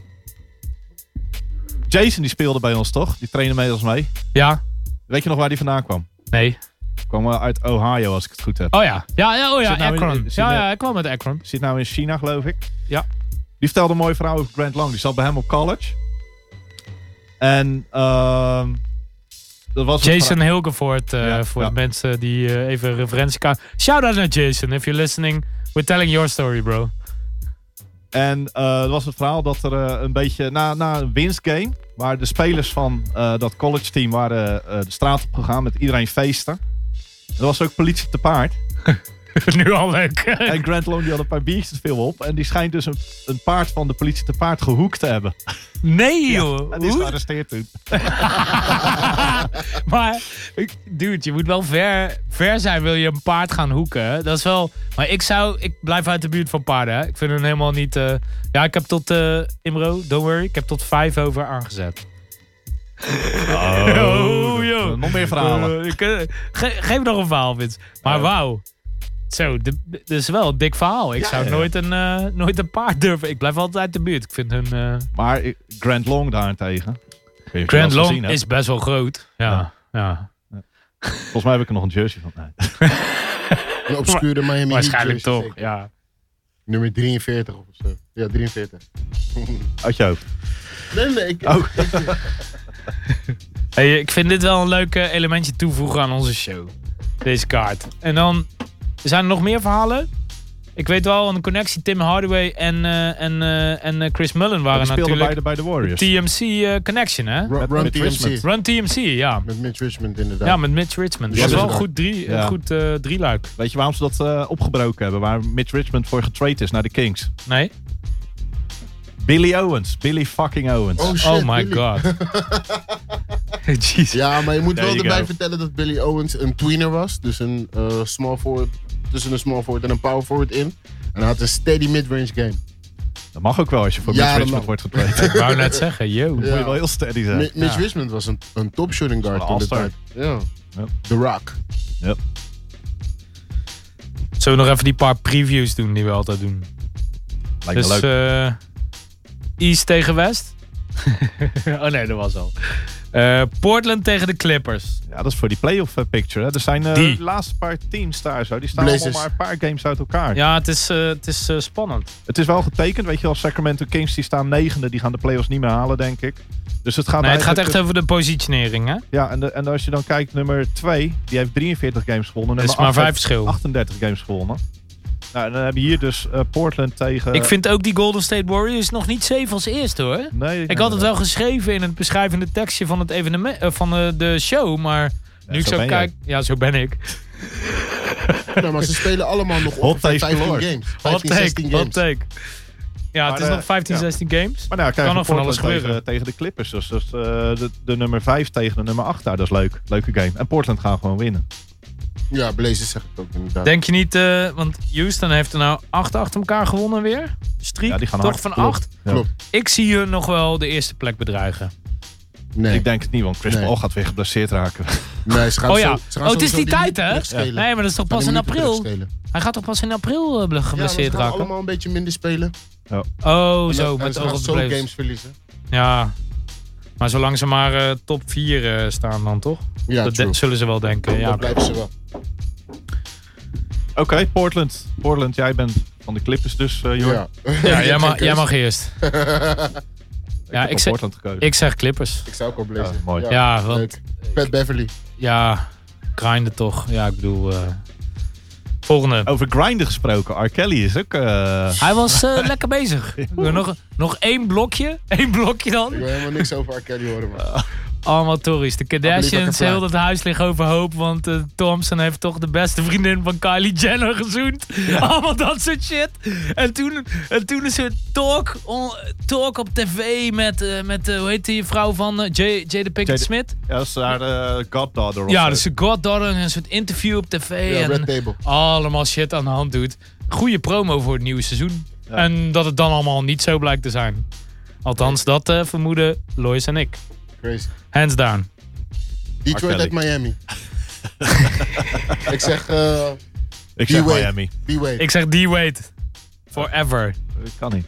C: Jason die speelde bij ons toch? Die trainde met ons mee.
B: Ja?
C: Weet je nog waar die vandaan kwam?
B: Nee.
C: Kwam wel uit Ohio als ik het goed heb.
B: Oh ja. Ja, ja oh ja,
C: Zit nou in-
B: Akron.
C: zit
B: ja,
C: nou-
B: ja, ik kwam met Akron.
C: Zit nou in China geloof ik.
B: Ja.
C: Die vertelde een mooie verhaal over Grant Lang. Die zat bij hem op college. En ehm, dat was het
B: Jason Hilgevoort, eh,
C: Ja,
B: voor
C: ja.
B: de mensen die eh, even een referentie kan. Shout out naar Jason, if you're listening, we're telling your story, bro.
C: En eh dat was het verhaal dat er eh, een beetje na, na een winstgame, waar de spelers van eh, dat college team waren eh, de straat op gegaan met iedereen feesten. Er was ook politie te
B: [LAUGHS]
C: paard.
B: [LAUGHS] nu al leuk.
C: En Grant Long die had een paar biertjes te veel op. En die schijnt dus een, een paard van de politie te paard gehoekt te hebben. [LAUGHS]
B: nee, joh.
C: En die is
B: Hoe?
C: gearresteerd toen.
B: [LAUGHS] maar, ik- dude, je moet wel ver, ver zijn wil je een paard gaan hoeken. Dat is wel... Maar ik zou... Ik blijf uit de buurt van paarden. hè. Ik vind hem helemaal niet... eh, ja, ik heb tot... eh, Imro, don't worry. Ik heb tot vijf over aangezet. [LAUGHS] Oh, joh.
C: Nog meer verhalen.
B: Eh, ik, eh, ge- geef nog een verhaal, Vince. Maar wauw. Zo, d- d- dit is wel een dik verhaal. Ik
C: Ja,
B: zou
C: ja, ja.
B: Nooit, een, eh, nooit een paard durven. Ik blijf altijd uit de buurt. Ik vind hun... eh,
C: Maar ik- Grant Long daarentegen. Ik weet niet of je dat
B: Grand
C: eens
B: Long
C: gezien hebt.
B: is best wel groot. Ja, ja.
C: Volgens mij heb ik er nog een jersey van. Nee.
A: Een obscure Miami Heat
B: Waarschijnlijk
A: jersey,
B: toch,
A: zeker.
B: ja.
A: Nummer 43 of zo. Ja, 43.
C: Uit je hoofd.
A: Nee, nee. Ik,
C: Oh.
B: Hey, ik vind dit wel een leuk eh, elementje toevoegen aan onze show. Deze kaart. En dan zijn er nog meer verhalen. Ik weet wel een connectie. Tim Hardaway en, eh, en, eh, en eh, Chris Mullen
C: Maar die
B: waren
C: speelde bij
B: natuurlijk
C: de, bij de Warriors.
B: TMC eh, connection, hè?
A: Ru-
C: Met-
A: Run
C: met
A: TMC.
C: Richmond.
B: Run TMC, ja.
A: Met Mitch Richmond inderdaad.
B: Ja, met Mitch Richmond.
A: Ja,
B: Dat was wel een
A: dus ook.
B: goed, drie,
C: Ja.
B: een goed eh drieluik.
C: Weet je waarom ze dat eh, opgebroken hebben? Waar Mitch Richmond voor getraind is naar de Kings.
B: Nee?
C: Billy Owens. Billy fucking Owens.
A: Oh, shit,
B: Oh my
A: Billy.
B: god. [LAUGHS] Jeez.
A: Ja, maar je moet
C: There
A: wel
C: you
A: erbij
C: go.
A: vertellen dat Billy Owens een tweener was. Dus een eh, small forward, tussen een small forward en een power forward in. En hij had een steady mid-range game.
C: Dat mag ook wel als je voor
A: Ja,
C: Mitch
A: dat mag.
C: Richmond wordt
A: [LAUGHS]
C: getraind. Dan
B: Ik wou net zeggen, yo.
A: Ja.
C: Moet je wel heel steady zijn.
A: Mi- Mitch
B: Ja.
A: Richmond was een, een top shooting guard
C: Een
A: toen de
C: all-star.
A: tijd. Ja.
C: Ja.
A: The Rock.
B: Zullen we nog even die paar previews doen die we altijd doen?
C: Lijkt me
B: dus
C: leuk.
B: eh, East tegen West. [LAUGHS] oh nee, dat was al. Eh, Portland tegen de Clippers.
C: ja, dat is voor die playoff eh, picture. Hè. Er zijn eh,
B: Die.
C: de laatste paar teams daar zo. Die staan
A: Blazers.
C: allemaal maar een paar games uit elkaar.
B: Ja, het is, eh, het is eh, spannend.
C: Het is wel getekend. Weet je wel, Sacramento Kings die staan negende. Die gaan de playoffs niet meer halen, denk ik. Dus het gaat,
B: Nee, het gaat
C: eigenlijk-
B: echt over de positionering, hè?
C: Ja, en, de- en als je dan kijkt, nummer 2, die heeft 43 games gewonnen.
B: Er is
C: Nummer
B: maar
C: acht
B: vijf
C: heeft
B: verschil.
C: 38 games gewonnen. Nou, en dan heb je hier dus eh, Portland tegen...
B: Ik vind ook die Golden State Warriors nog niet safe als eerste, hoor.
C: Nee,
B: Ik had het wel geschreven in het beschrijvende tekstje van, het evenement, eh, van eh, de show, maar nu ik
C: zo
B: zo
C: ben
B: kijk... Ja, zo ben ik.
A: Nou, maar ze spelen allemaal nog
C: Hot
A: ongeveer
C: takes
A: 15
C: galore.
A: games. 15,
B: Hot
A: 16
B: take,
A: games.
B: hot take. Ja, het
C: Maar,
B: is
C: eh,
B: nog 15,
C: ja.
B: 16 games.
C: Maar nou, krijg
B: Kan
C: je
B: nog van
C: Portland
B: alles gebeuren.
C: tegen, tegen de Clippers. Dus, dus eh, de, de nummer 5 tegen de nummer 8 daar. Dat is leuk. Leuke game. En Portland gaan gewoon winnen.
A: Ja, Blazers zeg ik ook inderdaad.
B: Denk je niet, eh, want Houston heeft er nou acht achter elkaar gewonnen weer. Streak,
C: Ja, die gaan
B: toch
C: hard.
B: van
C: Klopt.
B: acht.
C: Ja.
A: Klopt.
B: Ik zie hun nog wel de eerste plek bedreigen.
A: nee.
C: Ik denk het niet, want Chris
A: Nee.
C: Paul gaat weer geblesseerd raken. [LAUGHS]
A: nee, ze gaan
B: Oh
A: zo-
B: ja.
A: ze gaan
B: Oh, het is
A: sowieso
B: die tijd,
A: minuten
B: hè?
A: terugspelen.
B: Nee, maar dat is toch
A: Ze
B: pas
A: gaan die
B: in
A: minuten
B: april?
A: terugspelen.
B: Hij gaat toch pas in april eh, ble-
A: Ja, maar ze
B: geblesseerd
A: gaan
B: raken?
A: allemaal een beetje minder spelen.
B: Oh,
A: En dan-
B: zo,
A: en
B: met
A: ze
B: oog
A: gaan
B: op de
A: zo
B: playoffs.
A: games verliezen.
B: Ja, maar zolang ze maar eh, top 4 eh, staan dan, toch?
A: Ja,
B: dat de-
A: true.
B: zullen ze wel denken, ja.
A: Dat blijven ze wel.
C: Oké, Portland. Portland, jij bent van de Clippers dus, eh Jorn.
A: Ja. [LAUGHS]
B: Ja, jij,
A: geen
B: mag, jij
A: keus.
B: mag
A: [LAUGHS]
B: eerst.
C: heb
B: ja, ik
C: voor
B: zeg,
C: Portland gekozen.
B: ik zeg Clippers.
A: Ik zou ook al Blazers.
C: Ja, Oh, mooi.
B: Ja, want-
A: leuk. Pat Beverly.
B: Ja, grinden toch. Ja, ik bedoel... eh, volgende.
C: Over grinden gesproken. R. Kelly is ook... eh,
B: Hij was
C: [LAUGHS]
B: eh, lekker bezig. Nog, nog één blokje. [LAUGHS] Eén blokje dan.
A: Ik wil helemaal niks over R. Kelly horen, man.
B: Allemaal tories. De
A: I
B: Kardashians,
A: believe I can
B: heel dat huis ligt overhoop. Want eh Thompson heeft toch de beste vriendin van Kylie Jenner gezoend. [LAUGHS] Allemaal dat soort shit. En toen, en toen is er talk, on- talk op tv met, eh, met eh, hoe heet die vrouw van eh, J- Jada Pinkett
C: Jada-
B: Smith.
C: Ja, dat is haar eh, goddaughter. of
B: Ja,
C: zo.
B: dus de goddaughter en een soort interview op tv.
A: Ja,
B: en
A: Red Table.
B: allemaal shit aan de hand doet. Goede promo voor het nieuwe seizoen.
C: Ja.
B: En dat het dan allemaal niet zo blijkt te zijn. Althans, dat eh, vermoeden Lois en ik.
A: Crazy.
B: Hands down.
A: Detroit
C: Kelly.
A: uit
C: [LAUGHS]
A: Miami. ik zeg eh
C: Ik zeg
A: D-Wade.
C: Miami.
A: B-Wade.
B: Ik zeg D-Wade. Forever.
C: Dat Eh, kan niet.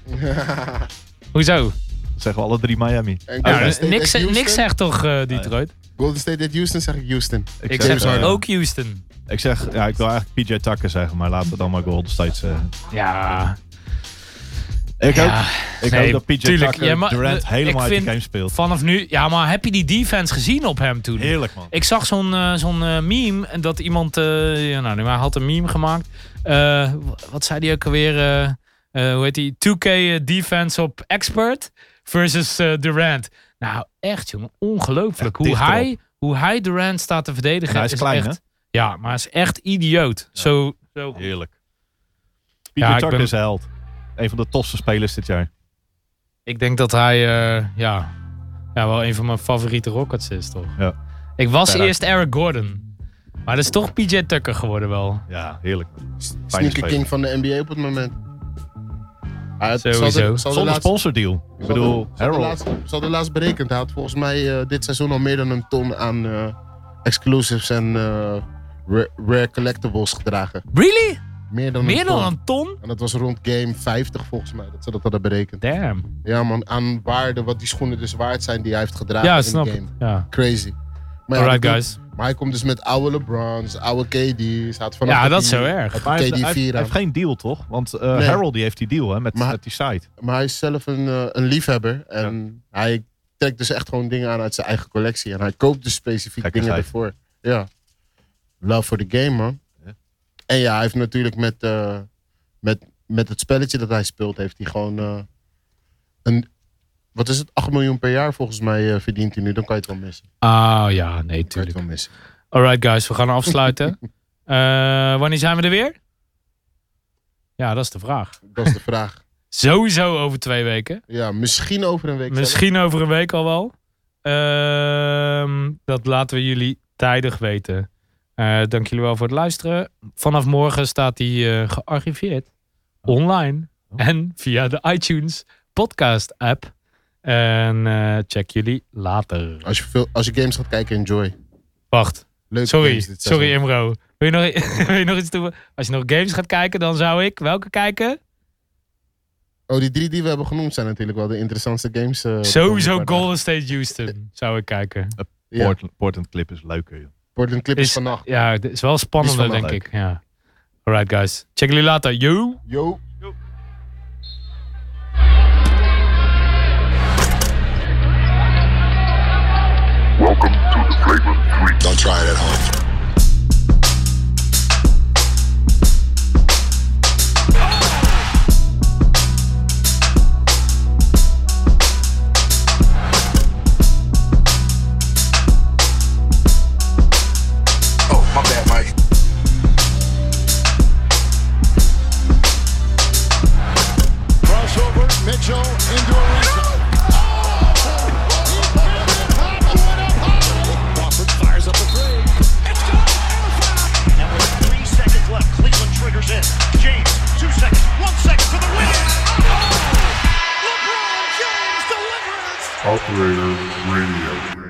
B: Hoezo?
C: Dat zeggen we alle drie Miami.
A: En
B: Ja,
A: Golden
B: dus
A: State
B: niks,
A: at Houston.
B: niks zegt toch eh, Detroit?
A: Golden State at Houston zeg ik Houston.
B: Ik
A: zeg
B: zeg
A: Houston.
B: ook Houston.
C: eh, Ik zeg, eh, ja, ik wil eigenlijk PJ Tucker zeggen, maar laten we dan maar Golden State zeggen.
B: Ja.
C: Ik
B: Ja,
C: hoop, ik
B: nee,
C: hoop dat PJ
B: tuurlijk.
C: Tucker
B: Ja, maar,
C: Durant
B: eh,
C: helemaal
B: ik
C: uit die
B: vind-
C: game speelt.
B: Vanaf nu, ja, maar heb je die defense gezien op hem toen?
C: Heerlijk, man.
B: Ik zag zo'n eh, zo'n eh, meme en dat iemand, eh, ja, nou, hij had een meme gemaakt. Eh, w- wat zei die ook alweer? eh, eh, hoe heet die? 2K eh, defense op expert versus eh, Durant. Nou, echt jongen, ongelooflijk.
C: Echt
B: Hoe
C: dichterop.
B: hij, hoe hij Durant staat te verdedigen.
C: En hij is klein,
B: echt,
C: hè?
B: Ja, maar hij is echt idioot. Zo, zo.
C: Heerlijk. PJ
B: Ja, ik
C: Tucker
B: ben-
C: is een held. Een van de tofste spelers dit jaar.
B: Ik denk dat hij eh, ja, ja, wel een van mijn favoriete Rockets is, toch?
C: Ja.
B: Ik was
C: Verder.
B: eerst Eric Gordon. Maar dat is toch PJ Tucker geworden wel.
C: Ja, heerlijk. man.
A: Sneaker
C: speler.
A: King van de NBA op het moment. Hij had-
B: Sowieso.
A: zal de- zal de
C: Zonder
A: laatste-
C: sponsordeal. Ik
A: zal de-
C: bedoel,
A: zal de
C: Harold.
A: laatste- Zal de laatst berekend. Hij had volgens mij eh, dit seizoen al meer dan een ton aan eh, exclusives en eh, ra- rare collectibles gedragen.
B: Really?
A: Meer dan
B: Meer
A: een ton.
B: dan een ton?
A: En dat was rond game 50 volgens mij, dat ze dat hadden berekend.
B: Damn.
A: Ja man, aan waarde wat die schoenen dus waard zijn die hij heeft gedragen
B: Ja,
A: in
B: snap
A: de game.
B: het. Ja.
A: Crazy. Maar ja,
B: Alright,
A: dat-
B: guys.
A: Maar hij komt dus met oude LeBrons, oude KD's. Hij had vanaf
B: Ja,
A: dat
B: dat is
A: hij-
B: zo erg.
C: Maar hij heeft,
A: KD4
C: hij heeft- hij
A: aan.
C: heeft geen deal, toch? Want eh,
A: Nee.
C: Harold die heeft die deal hè, met,
A: Maar-
C: met die site.
A: Maar hij is zelf een, eh, een liefhebber. En hij trekt dus echt gewoon dingen aan uit zijn eigen collectie. En hij koopt dus specifiek
C: Gekke
A: dingen
C: geit.
A: ervoor. Ja. Love for the game, man.
C: Ja.
A: En ja, hij heeft natuurlijk met, eh, met, met het spelletje dat hij speelt... heeft hij gewoon eh, een... Wat is het? 8 miljoen per jaar volgens mij eh, verdient hij nu. Dan kan je het wel missen.
B: Ah ja, nee,
A: Dan kan je het
B: tuurlijk.
A: wel missen.
B: Alright, guys, we gaan
A: [LAUGHS]
B: afsluiten. Eh, wanneer zijn we er weer? Ja, dat is de vraag.
A: Dat is de vraag.
B: Sowieso over twee weken.
A: Ja, misschien over een week.
B: [LAUGHS]
A: zelf.
B: Misschien over een week al wel. Ehm, dat laten we jullie tijdig weten. Eh, dank jullie wel voor het luisteren. Vanaf morgen staat die eh, gearchiveerd online en via de iTunes podcast app. En eh, check jullie later.
A: Als je, veel, als je games gaat kijken, enjoy.
B: Wacht,
A: Leuk.
B: sorry, sorry Imro. Wil je, nog, [LAUGHS] wil je nog iets doen? Als je nog games gaat kijken, dan zou ik welke kijken?
A: Oh, die drie die we hebben genoemd zijn natuurlijk wel de interessantste games. eh,
B: Sowieso
A: van-
B: Golden State Houston zou ik kijken.
A: Ja.
C: Portland, Portland Clip is leuker, joh.
A: Portland Clippers
B: Is-
A: vannacht.
B: Ja, het is wel spannender,
C: Is wel
B: denk
C: leuk.
B: ik. Ja. Alright, guys. Check jullie later. Yo!
A: Yo.
D: Welcome to the Flagrant 3. Don't try it at home. Oh, my bad, Mike.
E: Crossover, Mitchell into a reset. Crawford fires up the three.
F: It's good. And a foul. And with three seconds left, Cleveland triggers in. James, two seconds, one second for the win. Oh! LeBron James delivers.
D: Operator Radio.